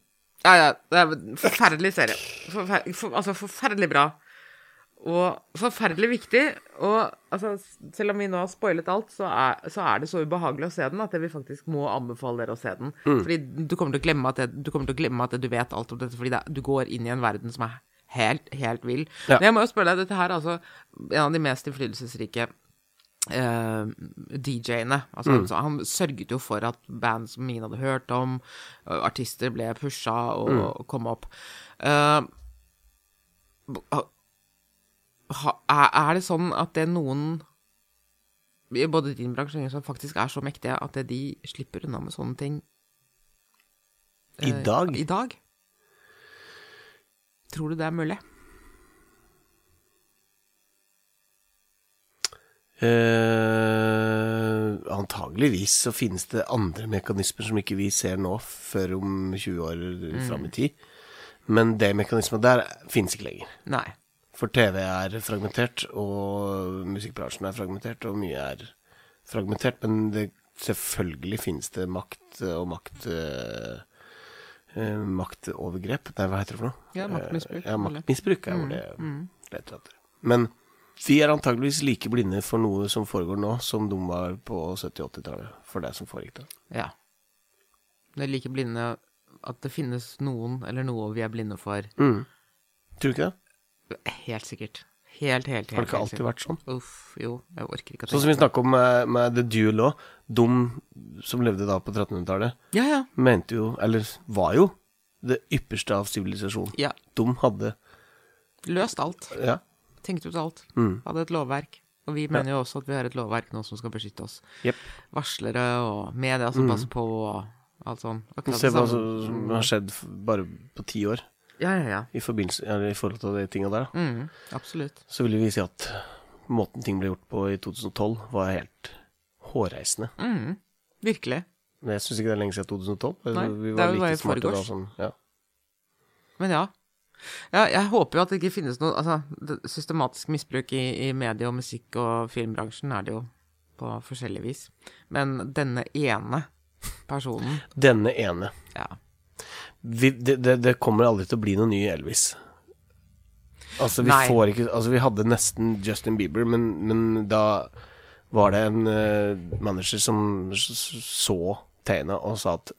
Speaker 1: Ja, ja. Det er en forferdelig serie. Forfer for, altså, forferdelig bra. Og forferdelig viktig. Og altså, selv om vi nå har spoilet alt, så er, så er det så ubehagelig å se den at jeg vil faktisk må anbefale dere å se den. Fordi du kommer til å glemme at, det, du, kommer til å glemme at det, du vet alt om dette, fordi det, du går inn i en verden som er helt, helt vill.
Speaker 2: Ja.
Speaker 1: Men jeg må jo spørre deg, dette her er altså en av de mest innflytelsesrike eh, DJ-ene. Altså,
Speaker 2: Mm.
Speaker 1: han- Han sørget jo for at band som ingen hadde hørt om, eh, artister ble pusha og,
Speaker 2: Mm.
Speaker 1: og kom opp. Eh, ha, er, er det sånn at det er noen i både din bransje og min som faktisk er så mektige at det de slipper unna med sånne ting eh,
Speaker 2: i dag
Speaker 1: i dag? Tror du det er mulig?
Speaker 2: Eh, antageligvis så finnes det andre mekanismer som ikke vi ser nå, før om 20 år fram i tid. Men det mekanismet der finnes ikke lenger.
Speaker 1: Nei.
Speaker 2: For TV er fragmentert, og musikkbransjen er fragmentert, og mye er fragmentert. Men det, selvfølgelig finnes det makt og makt eh, eh, Maktovergrep. Nei, hva heter det for noe?
Speaker 1: Ja, maktmisbruk, Mm,
Speaker 2: Eh, Ja,
Speaker 1: eller?
Speaker 2: maktmisbruk er hvor det leter etter. Men vi er antageligvis like blinde for noe som foregår nå, som de var på 70-80-tallet for det som foregikk da.
Speaker 1: Ja. Det er like blinde at det finnes noen eller noe vi er blinde for.
Speaker 2: Tror du ikke det?
Speaker 1: Helt sikkert. Helt, helt, helt.
Speaker 2: Har det ikke
Speaker 1: helt
Speaker 2: alltid
Speaker 1: sikkert.
Speaker 2: vært sånn?
Speaker 1: Uff, jo. Jeg orker ikke å
Speaker 2: Sånn som vi snakka om med, med The Duel òg. De som levde da på 1300-tallet.
Speaker 1: Ja, ja.
Speaker 2: mente jo, eller var jo, det ypperste av sivilisasjon.
Speaker 1: Ja.
Speaker 2: De hadde
Speaker 1: Løst alt.
Speaker 2: Ja.
Speaker 1: Tenkt ut alt.
Speaker 2: Mm.
Speaker 1: Hadde et lovverk. Og vi mener jo også at vi har et lovverk nå som skal beskytte oss.
Speaker 2: Jepp.
Speaker 1: Varslere og media som passer på og alt sånn. Akkurat
Speaker 2: Mm. Se
Speaker 1: det
Speaker 2: hva
Speaker 1: samme.
Speaker 2: som har skjedd f- bare på ti år
Speaker 1: Ja, ja, ja.
Speaker 2: i, forbindelse, eller i forhold til de tinga der. da.
Speaker 1: Mm, absolutt.
Speaker 2: Så ville vi si at måten ting ble gjort på i 2012, var helt hårreisende.
Speaker 1: Mm. Virkelig.
Speaker 2: Men jeg syns ikke det er lenge siden 2012.
Speaker 1: Nei,
Speaker 2: vi
Speaker 1: det
Speaker 2: var
Speaker 1: er jo bare i
Speaker 2: like smarte da
Speaker 1: forgårs.
Speaker 2: som ja.
Speaker 1: Men ja. ja. Jeg håper jo at det ikke finnes noe altså, det- Systematisk misbruk i, i medie- og musikk- og filmbransjen er det jo på forskjellig vis. Men denne ene personen
Speaker 2: Denne ene.
Speaker 1: Ja.
Speaker 2: Vi, det, det, det kommer aldri til å bli noen ny Elvis. Altså, vi
Speaker 1: Nei.
Speaker 2: får ikke Altså, vi hadde nesten Justin Bieber, men, men da var det en eh, manager som s- s- så tegna og sa at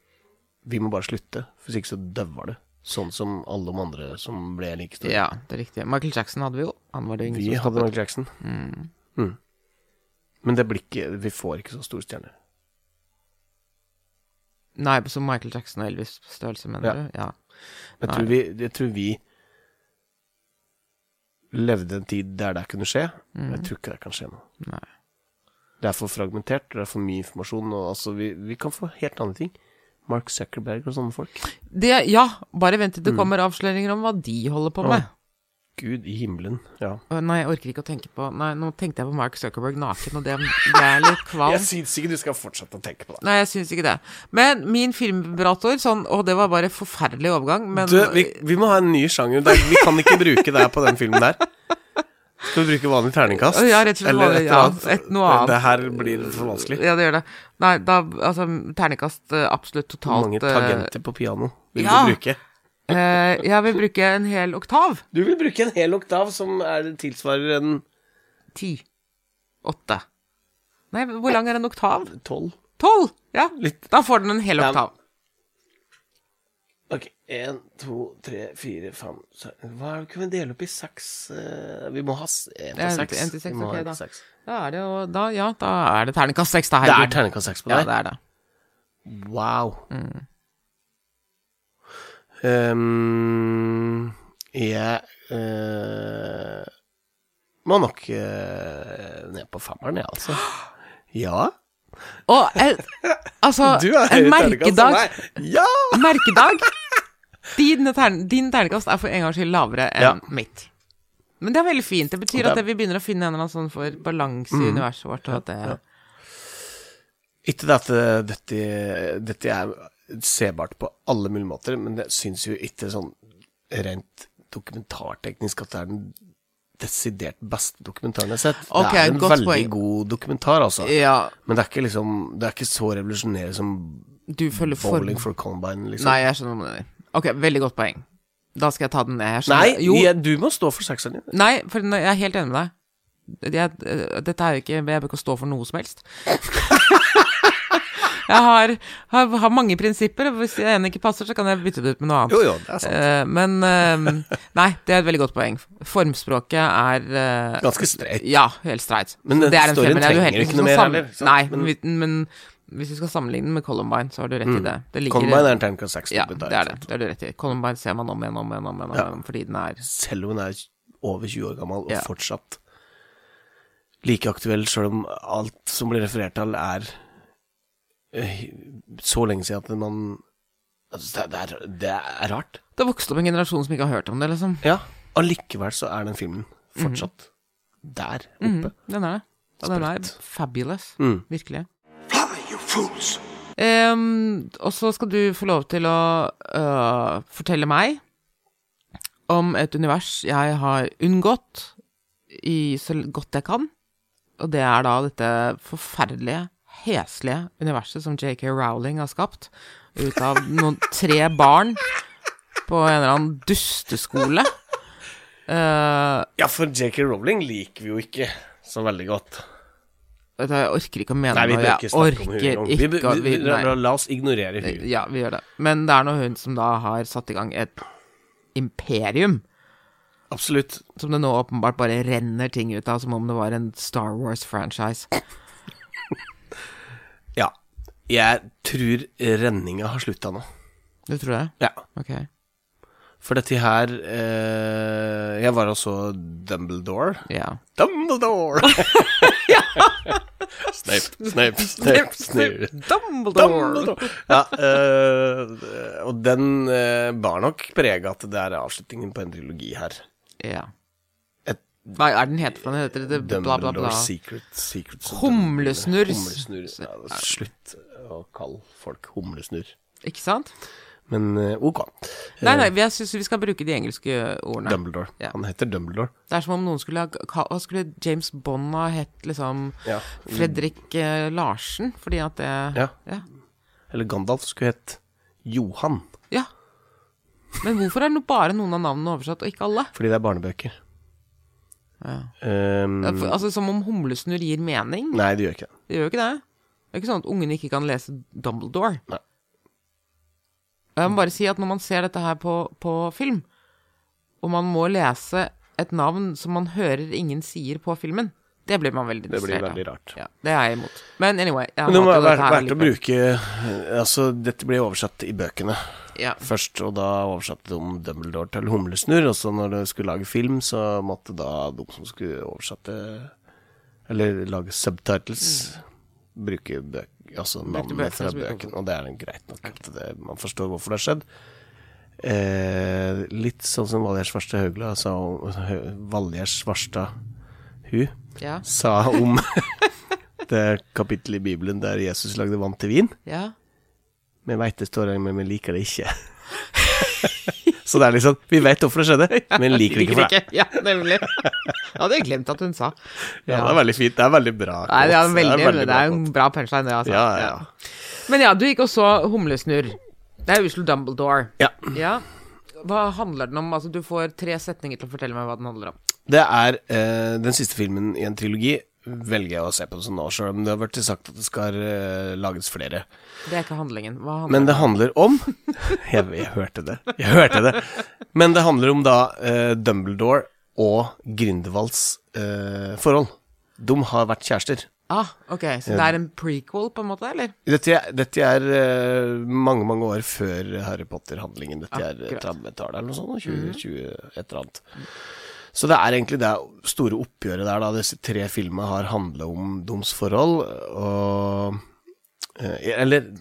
Speaker 2: vi må bare slutte, for ikke så dauer det. Sånn som alle de andre som ble like store.
Speaker 1: ja, det er riktig. Michael Jackson hadde vi jo. Han var det
Speaker 2: Vi
Speaker 1: yngste. som
Speaker 2: hadde
Speaker 1: stoppet.
Speaker 2: Michael Jackson. Mm. Men det blir ikke Vi får ikke så store stjerner.
Speaker 1: Nei, som Michael Jackson og Elvis på størrelse, mener
Speaker 2: Ja.
Speaker 1: du? Ja.
Speaker 2: Jeg tror, vi, jeg tror vi levde en tid der det kunne skje. Jeg tror ikke det kan skje nå.
Speaker 1: Nei.
Speaker 2: Det er for fragmentert, det er for mye informasjon. Og altså, vi, vi kan få helt andre ting. Mark Zuckerberg og sånne folk.
Speaker 1: Det, ja, bare vent til det kommer avsløringer om hva de holder på med.
Speaker 2: Gud i himmelen. Ja.
Speaker 1: Å, Nei, jeg orker ikke å tenke på Nei, nå tenkte jeg på Mark Zuckerberg naken, og det ble jeg litt [LAUGHS] kvalm.
Speaker 2: syns ikke du skal fortsette å tenke på
Speaker 1: Nei, jeg syns ikke det. Men min filmvibrator sånn Og det var bare forferdelig overgang, men
Speaker 2: Du, vi, vi må ha en ny sjanger. Det er- vi kan ikke bruke det her på den filmen der. Skal vi bruke vanlig terningkast?
Speaker 1: Ja, rett og slett
Speaker 2: Eller
Speaker 1: vanlig,
Speaker 2: et
Speaker 1: ja,
Speaker 2: eller annet?
Speaker 1: et noe annet.
Speaker 2: Det her blir for vanskelig.
Speaker 1: Ja, det gjør det. Nei, da Altså, ternekast absolutt
Speaker 2: Hvor
Speaker 1: totalt
Speaker 2: mange
Speaker 1: eh,
Speaker 2: tangenter på piano vil
Speaker 1: ja.
Speaker 2: du bruke?
Speaker 1: eh, jeg vil bruke en hel oktav.
Speaker 2: Du vil bruke en hel oktav som er, tilsvarer en
Speaker 1: Ti. Åtte. Nei, hvor lang er en oktav?
Speaker 2: tolv.
Speaker 1: Tolv! Ja,
Speaker 2: Litt-
Speaker 1: da får den en hel
Speaker 2: Ja.
Speaker 1: oktav.
Speaker 2: Ok, én, to, tre, fire, fem seks. Hva er det kunne vi dele opp i seks eh, Vi må ha s- én
Speaker 1: Ja,
Speaker 2: til seks.
Speaker 1: en til seks,
Speaker 2: Vi må
Speaker 1: ok,
Speaker 2: ha en
Speaker 1: da.
Speaker 2: til seks.
Speaker 1: Da er det jo da, Ja, da er det ternekast seks, da.
Speaker 2: Det er
Speaker 1: herregud.
Speaker 2: terningkast seks på
Speaker 1: Ja,
Speaker 2: deg?
Speaker 1: det er det.
Speaker 2: Wow.
Speaker 1: Mm.
Speaker 2: Ehm, jeg eh, må nok eh, ned på femmeren, jeg, altså. [GASPS] Ja.
Speaker 1: Og eh, altså,
Speaker 2: Du er
Speaker 1: en
Speaker 2: høyere terningkast enn
Speaker 1: merkedag
Speaker 2: meg. Ja!
Speaker 1: Merkedag. Din, tern, din ternekast er for en gangs skyld lavere enn
Speaker 2: Ja.
Speaker 1: mitt. Men det er veldig fint. Det betyr
Speaker 2: Det-
Speaker 1: at det, vi begynner å finne en eller annen sånn for balanse
Speaker 2: Mm.
Speaker 1: i universet vårt. Og at det,
Speaker 2: Ikke det at eh, dette, dette er sebart på alle mulige måter, men jeg syns jo ikke sånn rent dokumentarteknisk at det er den desidert beste dokumentaren jeg har sett.
Speaker 1: Ok,
Speaker 2: det er en
Speaker 1: godt
Speaker 2: veldig
Speaker 1: poeng.
Speaker 2: god dokumentar, altså.
Speaker 1: ja,
Speaker 2: Men det er ikke liksom Det er ikke så revolusjonerende som
Speaker 1: du følger for...
Speaker 2: Bowling for Columbine, liksom.
Speaker 1: Nei, jeg skjønner hva du mener. Ok, veldig godt poeng. Da skal jeg ta den ned. Jeg skjønner-
Speaker 2: Nei,
Speaker 1: jo,
Speaker 2: jeg- du må stå for sekseren din.
Speaker 1: nei for jeg er helt enig med deg. Jeg, eh, dette er jo ikke Jeg bør ikke stå for noe som
Speaker 2: [LAUGHS]
Speaker 1: helst. jeg har, har, har mange prinsipper, og hvis en ikke passer, så kan jeg bytte det ut med noe annet.
Speaker 2: Jo, jo, det er sant.
Speaker 1: Eh, men eh, Nei, det er et veldig godt poeng. Formspråket er eh,
Speaker 2: Ganske streit.
Speaker 1: Ja, helt streit.
Speaker 2: Men
Speaker 1: Så
Speaker 2: den storyen
Speaker 1: femmer, det er jo
Speaker 2: trenger
Speaker 1: helt-
Speaker 2: ikke
Speaker 1: hvis
Speaker 2: noe
Speaker 1: vi skal
Speaker 2: mer
Speaker 1: sammenligne-
Speaker 2: heller, sant?
Speaker 1: Nei,
Speaker 2: Men- Mm.
Speaker 1: men, vi- men hvis vi skal sammenligne den med Columbine, så har du rett i det. det ligger,
Speaker 2: Columbine er en terningkast seks.
Speaker 1: ja, det
Speaker 2: dokumentar,
Speaker 1: er
Speaker 2: ikke
Speaker 1: det.
Speaker 2: sant?
Speaker 1: Det har du rett i. Columbine ser man om igjen, om igjen, om igjen, om igjen fordi den er
Speaker 2: Selv om hun er over 20 år gammel og
Speaker 1: Ja.
Speaker 2: fortsatt like aktuell, selv om alt som blir referert til, er eh, så lenge siden at man altså, det, er, det er- det er rart.
Speaker 1: Det har vokst opp en generasjon som ikke har hørt om det, liksom.
Speaker 2: Ja. Allikevel så er den filmen fortsatt
Speaker 1: Mhm.
Speaker 2: der oppe.
Speaker 1: Den er det. Og den er
Speaker 2: Mm. Sprøtt.
Speaker 1: fabulous.
Speaker 2: Mm.
Speaker 1: Virkelig.
Speaker 4: Flummy, you fools!
Speaker 1: Ehm, og så skal du få lov til å øh, fortelle meg om et univers jeg har unngått i så godt jeg kan. Og det er da dette forferdelige, heslige universet som JK Rowling har skapt ut av
Speaker 2: [LAUGHS]
Speaker 1: noen tre barn på en eller annen dusteskole. Eh,
Speaker 2: Ja, for J.K. Rowling liker vi jo ikke så veldig godt.
Speaker 1: vet du, jeg orker ikke å mene
Speaker 2: Nei, vi
Speaker 1: noe.
Speaker 2: bør ikke
Speaker 1: Jeg
Speaker 2: snakke om
Speaker 1: orker
Speaker 2: henne. Vi,
Speaker 1: ikke
Speaker 2: vi,
Speaker 1: å-
Speaker 2: vi,
Speaker 1: vi- nei.
Speaker 2: la, la oss ignorere henne.
Speaker 1: Ja, vi gjør det. Men det er nå hun som da har satt i gang et imperium,
Speaker 2: Absolutt.
Speaker 1: som det nå åpenbart bare renner ting ut av, som om det var en Star Wars-franchise.
Speaker 2: Ja. Jeg tror renninga har slutta nå.
Speaker 1: Det tror jeg.
Speaker 2: Ja.
Speaker 1: Ok.
Speaker 2: For dette her eh, Jeg var og så Dumbledore.
Speaker 1: Ja. [LAUGHS]
Speaker 2: Dumbledore! Snape, Snape, Snape, Snape.
Speaker 1: Dumbledore!
Speaker 2: Dumbledore! Ja, eh, og den eh, bar nok preg at det er avslutningen på en trilogi her.
Speaker 1: Ja.
Speaker 2: Et
Speaker 1: Hva er den heter for noe? Heter det det bla, bla, bla?
Speaker 2: Dumbledore Secret, Secrets of
Speaker 1: Humlesnurr.
Speaker 2: Humlesnurr. Ja, slutt å kalle folk humlesnurr.
Speaker 1: Ikke sant?
Speaker 2: Men eh, ok.
Speaker 1: Nei, nei, jeg syns vi skal bruke de engelske ordene.
Speaker 2: Dumbledore.
Speaker 1: Ja.
Speaker 2: Han heter Dumbledore.
Speaker 1: Det er som om noen skulle ha ka- Hva skulle James Bond ha hett, liksom?
Speaker 2: Ja.
Speaker 1: Fredrik eh, Larsen? Fordi at det
Speaker 2: Ja.
Speaker 1: ja.
Speaker 2: Eller Gandalf skulle hett Johan,
Speaker 1: Ja. Men hvorfor er det no- bare noen av navnene oversatt, og ikke alle?
Speaker 2: fordi det er barnebøker. Ehm,
Speaker 1: Ja, for-
Speaker 2: Mm.
Speaker 1: Altså Som om humlesnurr gir mening.
Speaker 2: nei, det gjør ikke det.
Speaker 1: Det gjør jo ikke det. Det er ikke sånn at ungene ikke kan lese Dumbledore.
Speaker 2: Nei.
Speaker 1: Jeg må bare si at når man ser dette her på, på film, og man må lese et navn som man hører ingen sier på filmen, det blir man veldig
Speaker 2: Det blir
Speaker 1: distrahert av.
Speaker 2: veldig rart.
Speaker 1: Ja, det er jeg imot. Men anyway jeg
Speaker 2: Men det må
Speaker 1: hater
Speaker 2: være
Speaker 1: jo dette her
Speaker 2: verdt, å
Speaker 1: allikevel.
Speaker 2: bruke eh, Altså, dette ble oversatt i bøkene
Speaker 1: ja.
Speaker 2: først, og da oversatte de Dumbledore til Humlesnurr, og så når de skulle lage film, så måtte da de som skulle oversette Eller lage subtitles, bruke bøk, altså navnene
Speaker 1: Mm. bøkene
Speaker 2: fra
Speaker 1: som-
Speaker 2: bøkene, og det er greit nok at det, man forstår hvorfor det har skjedd. Eh, litt sånn som Valgerd Svarstad Haugla sa om Hø- Valgerd Svarstad Hu
Speaker 1: Ja.
Speaker 2: sa om [LAUGHS] det kapittelet i Bibelen der Jesus lagde vann til vin.
Speaker 1: ja.
Speaker 2: Vi veit det står der, men vi liker det ikke. [LAUGHS] Så det er liksom Vi vet hvorfor det skjedde, men liker det ikke for deg.
Speaker 1: [LAUGHS] Ja, nemlig. Jeg hadde glemt at hun sa.
Speaker 2: Ja, det er veldig fint. Det er veldig bra.
Speaker 1: Nei, det er,
Speaker 2: quotes.
Speaker 1: veldig, det er,
Speaker 2: bra
Speaker 1: en
Speaker 2: quotes.
Speaker 1: bra punchline, det, altså.
Speaker 2: Ja, ja, ja.
Speaker 1: Men ja, du gikk og så Humlesnurr. Det er Usel Dumbledore.
Speaker 2: Ja.
Speaker 1: Ja. Hva handler den om? Altså, du får tre setninger til å fortelle meg hva den handler om.
Speaker 2: Det er eh, den siste filmen i en trilogi. Velger jeg å se på det som nå, sjøl om det har vært sagt at det skal eh, lages flere.
Speaker 1: Det er ikke handlingen. Hva handler
Speaker 2: Men det handler om [LAUGHS] jeg, jeg hørte det. Jeg hørte det. Men det handler om da eh, Dumbledore og Grindelwalds eh, forhold. De har vært kjærester.
Speaker 1: Ah, ok, Så det er en prequel, på en måte, eller?
Speaker 2: Dette, er- dette er eh, mange, mange år før Harry Potter-handlingen. Dette er
Speaker 1: Akkurat.
Speaker 2: 30-tallet eller noe sånt. 20, 20, et eller annet. Så det er egentlig det store oppgjøret der, da. Disse tre filmene har handla om deres forhold, og eh, Eller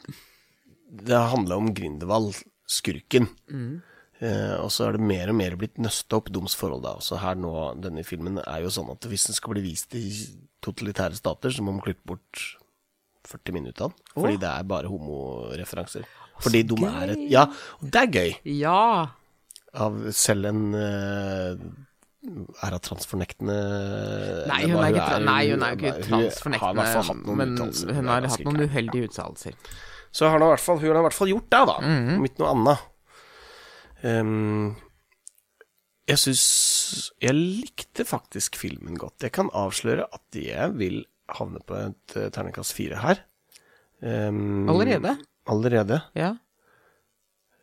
Speaker 2: det har handla om Grindelwald, skurken. Eh, og så er det mer og mer blitt nøsta opp deres forhold, da. Også her nå, denne filmen er jo sånn at hvis den skal bli vist i totalitære stater, så må man klippe bort 40 minutter. Fordi det er bare homoreferanser. Fordi de er et Ja, og det er gøy.
Speaker 1: Ja.
Speaker 2: Av selv en eh, er av transfornektende
Speaker 1: Nei,
Speaker 2: eller
Speaker 1: hun
Speaker 2: hva
Speaker 1: er ikke, tra- nei, hun er jo
Speaker 2: hun
Speaker 1: ikke
Speaker 2: Har i hvert fall hatt
Speaker 1: transfornektende,
Speaker 2: noen
Speaker 1: men
Speaker 2: uttalelser. Det er
Speaker 1: hun har
Speaker 2: ganske
Speaker 1: hatt noen
Speaker 2: klart.
Speaker 1: uheldige uttalelser.
Speaker 2: Så har han i hvert fall, hun har i hvert fall gjort det, da.
Speaker 1: Mhm.
Speaker 2: Om ikke noe annet. Ehm, jeg syns Jeg likte faktisk filmen godt. Jeg kan avsløre at jeg vil havne på et eh, terningkast fire her. Ehm,
Speaker 1: Allerede?
Speaker 2: Allerede.
Speaker 1: Ja.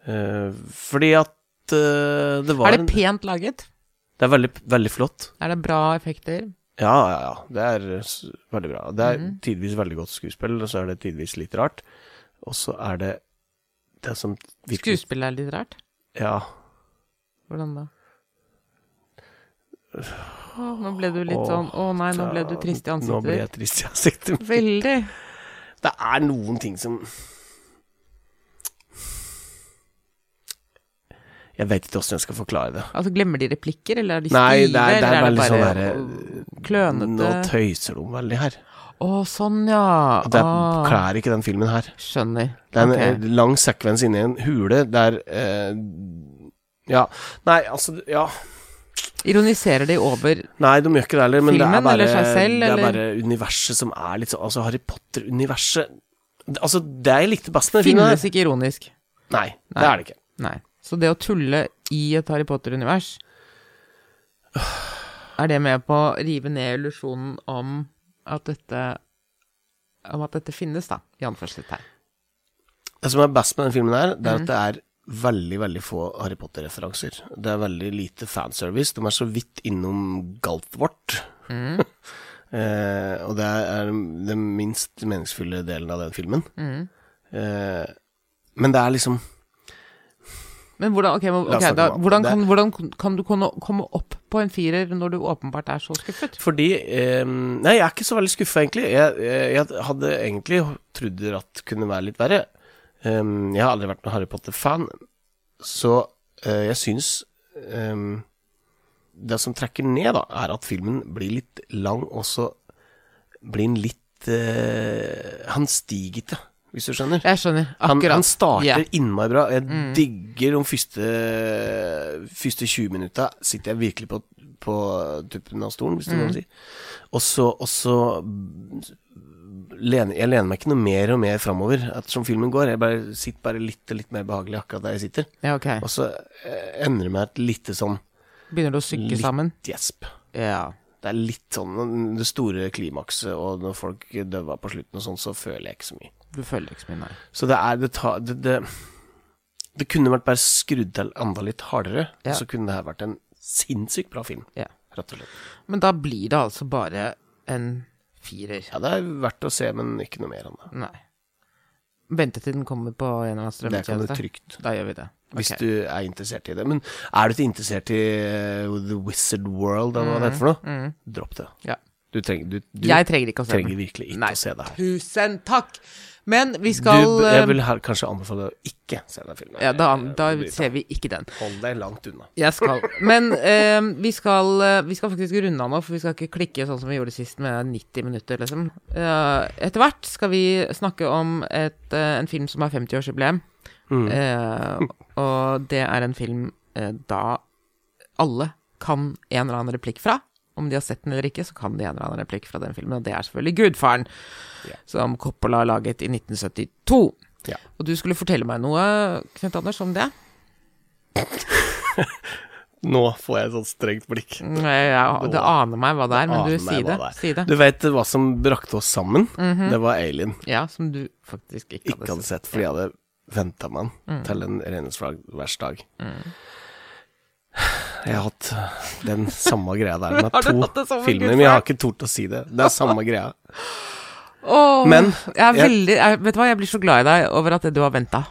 Speaker 2: Eh, fordi at eh, det var
Speaker 1: Er det
Speaker 2: en,
Speaker 1: pent laget?
Speaker 2: det er veldig, veldig flott.
Speaker 1: Er det bra effekter?
Speaker 2: Ja, ja, ja. Det er eh, s- veldig bra. Det er
Speaker 1: Mhm.
Speaker 2: tidvis veldig godt skuespill, og så er det tidvis litt rart. Og så er det det som virkelig-
Speaker 1: Skuespillet er litt rart.
Speaker 2: Ja.
Speaker 1: Hvordan da? Å, nå ble du litt sånn Å nei, nå ble du trist i
Speaker 2: Nå ble jeg
Speaker 1: ansiktet.
Speaker 2: trist i ansiktet.
Speaker 1: Veldig.
Speaker 2: Det er noen ting som Jeg vet ikke åssen jeg skal forklare det.
Speaker 1: Altså, glemmer de replikker, eller er de
Speaker 2: Nei,
Speaker 1: stive,
Speaker 2: det er, det
Speaker 1: eller
Speaker 2: er
Speaker 1: er det
Speaker 2: veldig sånn
Speaker 1: bare
Speaker 2: derre Nå
Speaker 1: klønete
Speaker 2: tøyser de veldig her.
Speaker 1: Å, sånn, ja.
Speaker 2: Og Det
Speaker 1: Ah,
Speaker 2: klær ikke den filmen her.
Speaker 1: skjønner.
Speaker 2: Det er en
Speaker 1: Ok.
Speaker 2: eh, lang sekvens inni en hule der eh, Ja. Nei, altså Ja.
Speaker 1: Ironiserer de over
Speaker 2: Nei, de gjør ikke det heller, men det
Speaker 1: Filmen,
Speaker 2: er bare,
Speaker 1: eller seg selv,
Speaker 2: det er
Speaker 1: eller?
Speaker 2: bare universet som er litt sånn Altså, Harry Potter-universet Altså, det jeg likte best med den filmen
Speaker 1: Finnes
Speaker 2: her
Speaker 1: ikke ironisk.
Speaker 2: Nei, det
Speaker 1: Nei.
Speaker 2: er det ikke.
Speaker 1: Nei. Så det å tulle i et Harry Potter-univers Er det med på å rive ned illusjonen om at dette Om at dette finnes, da? I anførselstegn.
Speaker 2: Det som er best med den filmen her, det er at det er veldig, veldig få Harry Potter-referanser. Det er veldig lite fanservice. De er så vidt innom Galtvort. [LAUGHS] eh, og det er den minst meningsfulle delen av den filmen. Eh, men det er liksom
Speaker 1: Men hvordan, ok, men,
Speaker 2: La oss
Speaker 1: ok,
Speaker 2: snakke
Speaker 1: da,
Speaker 2: om alt.
Speaker 1: hvordan,
Speaker 2: Det-
Speaker 1: kan, hvordan kan du kunne komme opp på en firer når du åpenbart er så skuffet?
Speaker 2: Fordi eh, Nei, jeg er ikke så veldig skuffa, egentlig. Jeg, eh, jeg, jeg hadde egentlig trodd at det kunne være litt verre. Ehm, jeg har aldri vært noen Harry Potter-fan, så eh, jeg syns ehm, Det som trekker ned, da, er at filmen blir litt lang, og så blir den litt eh, Han stiger ikke, hvis du skjønner.
Speaker 1: Jeg skjønner.
Speaker 2: Han,
Speaker 1: Akkurat.
Speaker 2: han starter
Speaker 1: Ja. Mm.
Speaker 2: innmari bra. Jeg digger de første, første 20 minutta. Sitter jeg virkelig på, på tuppen av stolen, hvis du
Speaker 1: Mm.
Speaker 2: kan si. Og så, og så lener, Jeg lener meg ikke noe mer og mer framover ettersom filmen går. Jeg bare sitter bare litt litt mer behagelig akkurat der jeg sitter.
Speaker 1: Ja, ok.
Speaker 2: Og så eh, ender det med et lite sånn
Speaker 1: Begynner du å synke
Speaker 2: litt
Speaker 1: sammen?
Speaker 2: gjesp.
Speaker 1: Ja.
Speaker 2: Det er litt sånn det store klimakset, og når folk døver på slutten og sånn, så føler jeg ikke så mye.
Speaker 1: Du føler ikke så mye, nei.
Speaker 2: Så det er det, ta, det, det, det kunne vært bare skrudd til enda litt hardere,
Speaker 1: Ja.
Speaker 2: så kunne det her vært en sinnssykt bra film.
Speaker 1: Ja.
Speaker 2: Rett og slett.
Speaker 1: Men da blir det altså bare en firer.
Speaker 2: Ja, det er verdt å se, men ikke noe mer enn det.
Speaker 1: Nei. Vente til den kommer på en eller annen
Speaker 2: Det kan du
Speaker 1: strømmetjeneste.
Speaker 2: trygt.
Speaker 1: Da gjør vi det.
Speaker 2: Hvis du er interessert i det. Men er du ikke interessert i eh, The Wizard World, eller hva det heter for noe, dropp det.
Speaker 1: Ja.
Speaker 2: Du trenger, du, du
Speaker 1: Mm, Jeg trenger ikke å se
Speaker 2: trenger
Speaker 1: den.
Speaker 2: virkelig ikke
Speaker 1: Nei.
Speaker 2: å se det her.
Speaker 1: Tusen takk! Men vi skal
Speaker 2: Du, jeg
Speaker 1: eh,
Speaker 2: vil her kanskje anbefale deg å ikke se den filmen.
Speaker 1: Ja, da,
Speaker 2: Eh,
Speaker 1: da
Speaker 2: Brita.
Speaker 1: ser vi ikke den.
Speaker 2: Hold deg langt unna.
Speaker 1: Jeg skal. Men eh, vi, skal, eh, vi skal faktisk runde av nå, for vi skal ikke klikke sånn som vi gjorde sist, med 90 minutter, liksom. Eh, etter hvert skal vi snakke om
Speaker 2: Mm.
Speaker 1: et, eh, en film som har 50-årsjubileum. Eh, og det er en film eh, da alle kan en eller annen replikk fra. Om de har sett den eller ikke, så kan de en eller annen replikk fra den filmen, og det er selvfølgelig Gudfaren,
Speaker 2: Ja.
Speaker 1: som Coppola laget i 1972.
Speaker 2: Ja.
Speaker 1: Og du skulle fortelle meg noe, Knut Anders, om det.
Speaker 2: Nå får jeg et sånt strengt blikk.
Speaker 1: Mm, Jeg, det aner meg hva det er, men
Speaker 2: Aner
Speaker 1: du,
Speaker 2: meg
Speaker 1: si det.
Speaker 2: Ah, hva er.
Speaker 1: Si det. Mhm.
Speaker 2: Du vet hva som brakte oss sammen? Det var Alien.
Speaker 1: Ja, som du faktisk ikke,
Speaker 2: Ikke hadde sett, fordi jeg hadde venta meg
Speaker 1: Mm.
Speaker 2: den til en renhetsværsdag. Jeg har hatt den samme greia
Speaker 1: [LAUGHS]
Speaker 2: der med
Speaker 1: Har du
Speaker 2: to
Speaker 1: hatt det samme
Speaker 2: filmer, men jeg har ikke tort å si det. Det er samme greia.
Speaker 1: Åh,
Speaker 2: Men
Speaker 1: jeg er
Speaker 2: jeg-
Speaker 1: veldig, jeg, Vet du hva, jeg blir så glad i deg over at du har venta.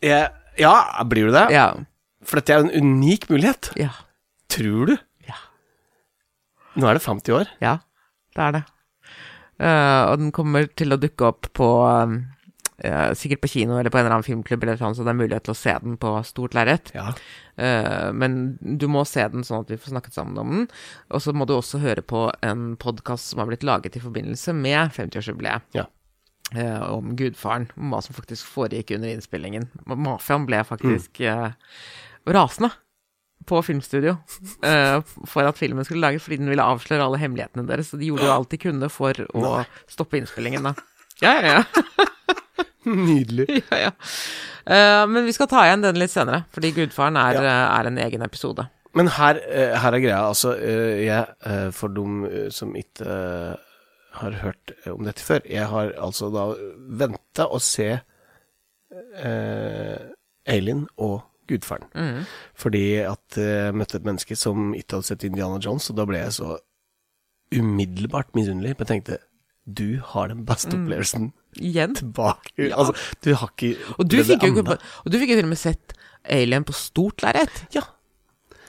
Speaker 2: Jeg, ja, blir du det?
Speaker 1: Ja.
Speaker 2: For dette er jo en unik mulighet.
Speaker 1: Ja.
Speaker 2: Tror du?
Speaker 1: Ja.
Speaker 2: Nå er det 50 år.
Speaker 1: Ja, det er det. Eh, og den kommer til å dukke opp på eh, Sikkert på kino eller på en eller annen filmklubb, eller sånn, så det er mulighet til å se den på stort lerret.
Speaker 2: Ja.
Speaker 1: Eh, men du må se den sånn at vi får snakket sammen om den. Og så må du også høre på en podkast som har blitt laget i forbindelse med 50-årsjubileet.
Speaker 2: Ja.
Speaker 1: eh, om gudfaren, om hva som faktisk foregikk under innspillingen. Mafiaen ble faktisk eh, rasende på filmstudio eh, for at filmen skulle lages, fordi den ville avsløre alle hemmelighetene deres. Så de gjorde jo alt de kunne for å stoppe innspillingen, da. Ja, ja, ja.
Speaker 2: Nydelig.
Speaker 1: ja, ja. Eh, men vi skal ta igjen den litt senere, fordi Gudfaren er,
Speaker 2: Ja.
Speaker 1: eh, er en egen episode.
Speaker 2: Men her, eh, her er greia. Altså, eh, jeg, eh, for dem eh, som ikke eh, har hørt eh, om dette før Jeg har altså da venta å se eh, Alien og Gudfaren.
Speaker 1: Mm.
Speaker 2: Fordi at eh, jeg møtte et menneske som ikke hadde sett Indiana Jones, og da ble jeg så umiddelbart misunnelig. Men jeg tenkte du har den beste
Speaker 1: Mm.
Speaker 2: opplevelsen
Speaker 1: Igjen.
Speaker 2: tilbake. Altså, du har ikke
Speaker 1: Og du
Speaker 2: opplevd
Speaker 1: fikk jo,
Speaker 2: det
Speaker 1: ikke-
Speaker 2: annet.
Speaker 1: og du fikk jo til og med sett Alien på stort lerret,
Speaker 2: Ja.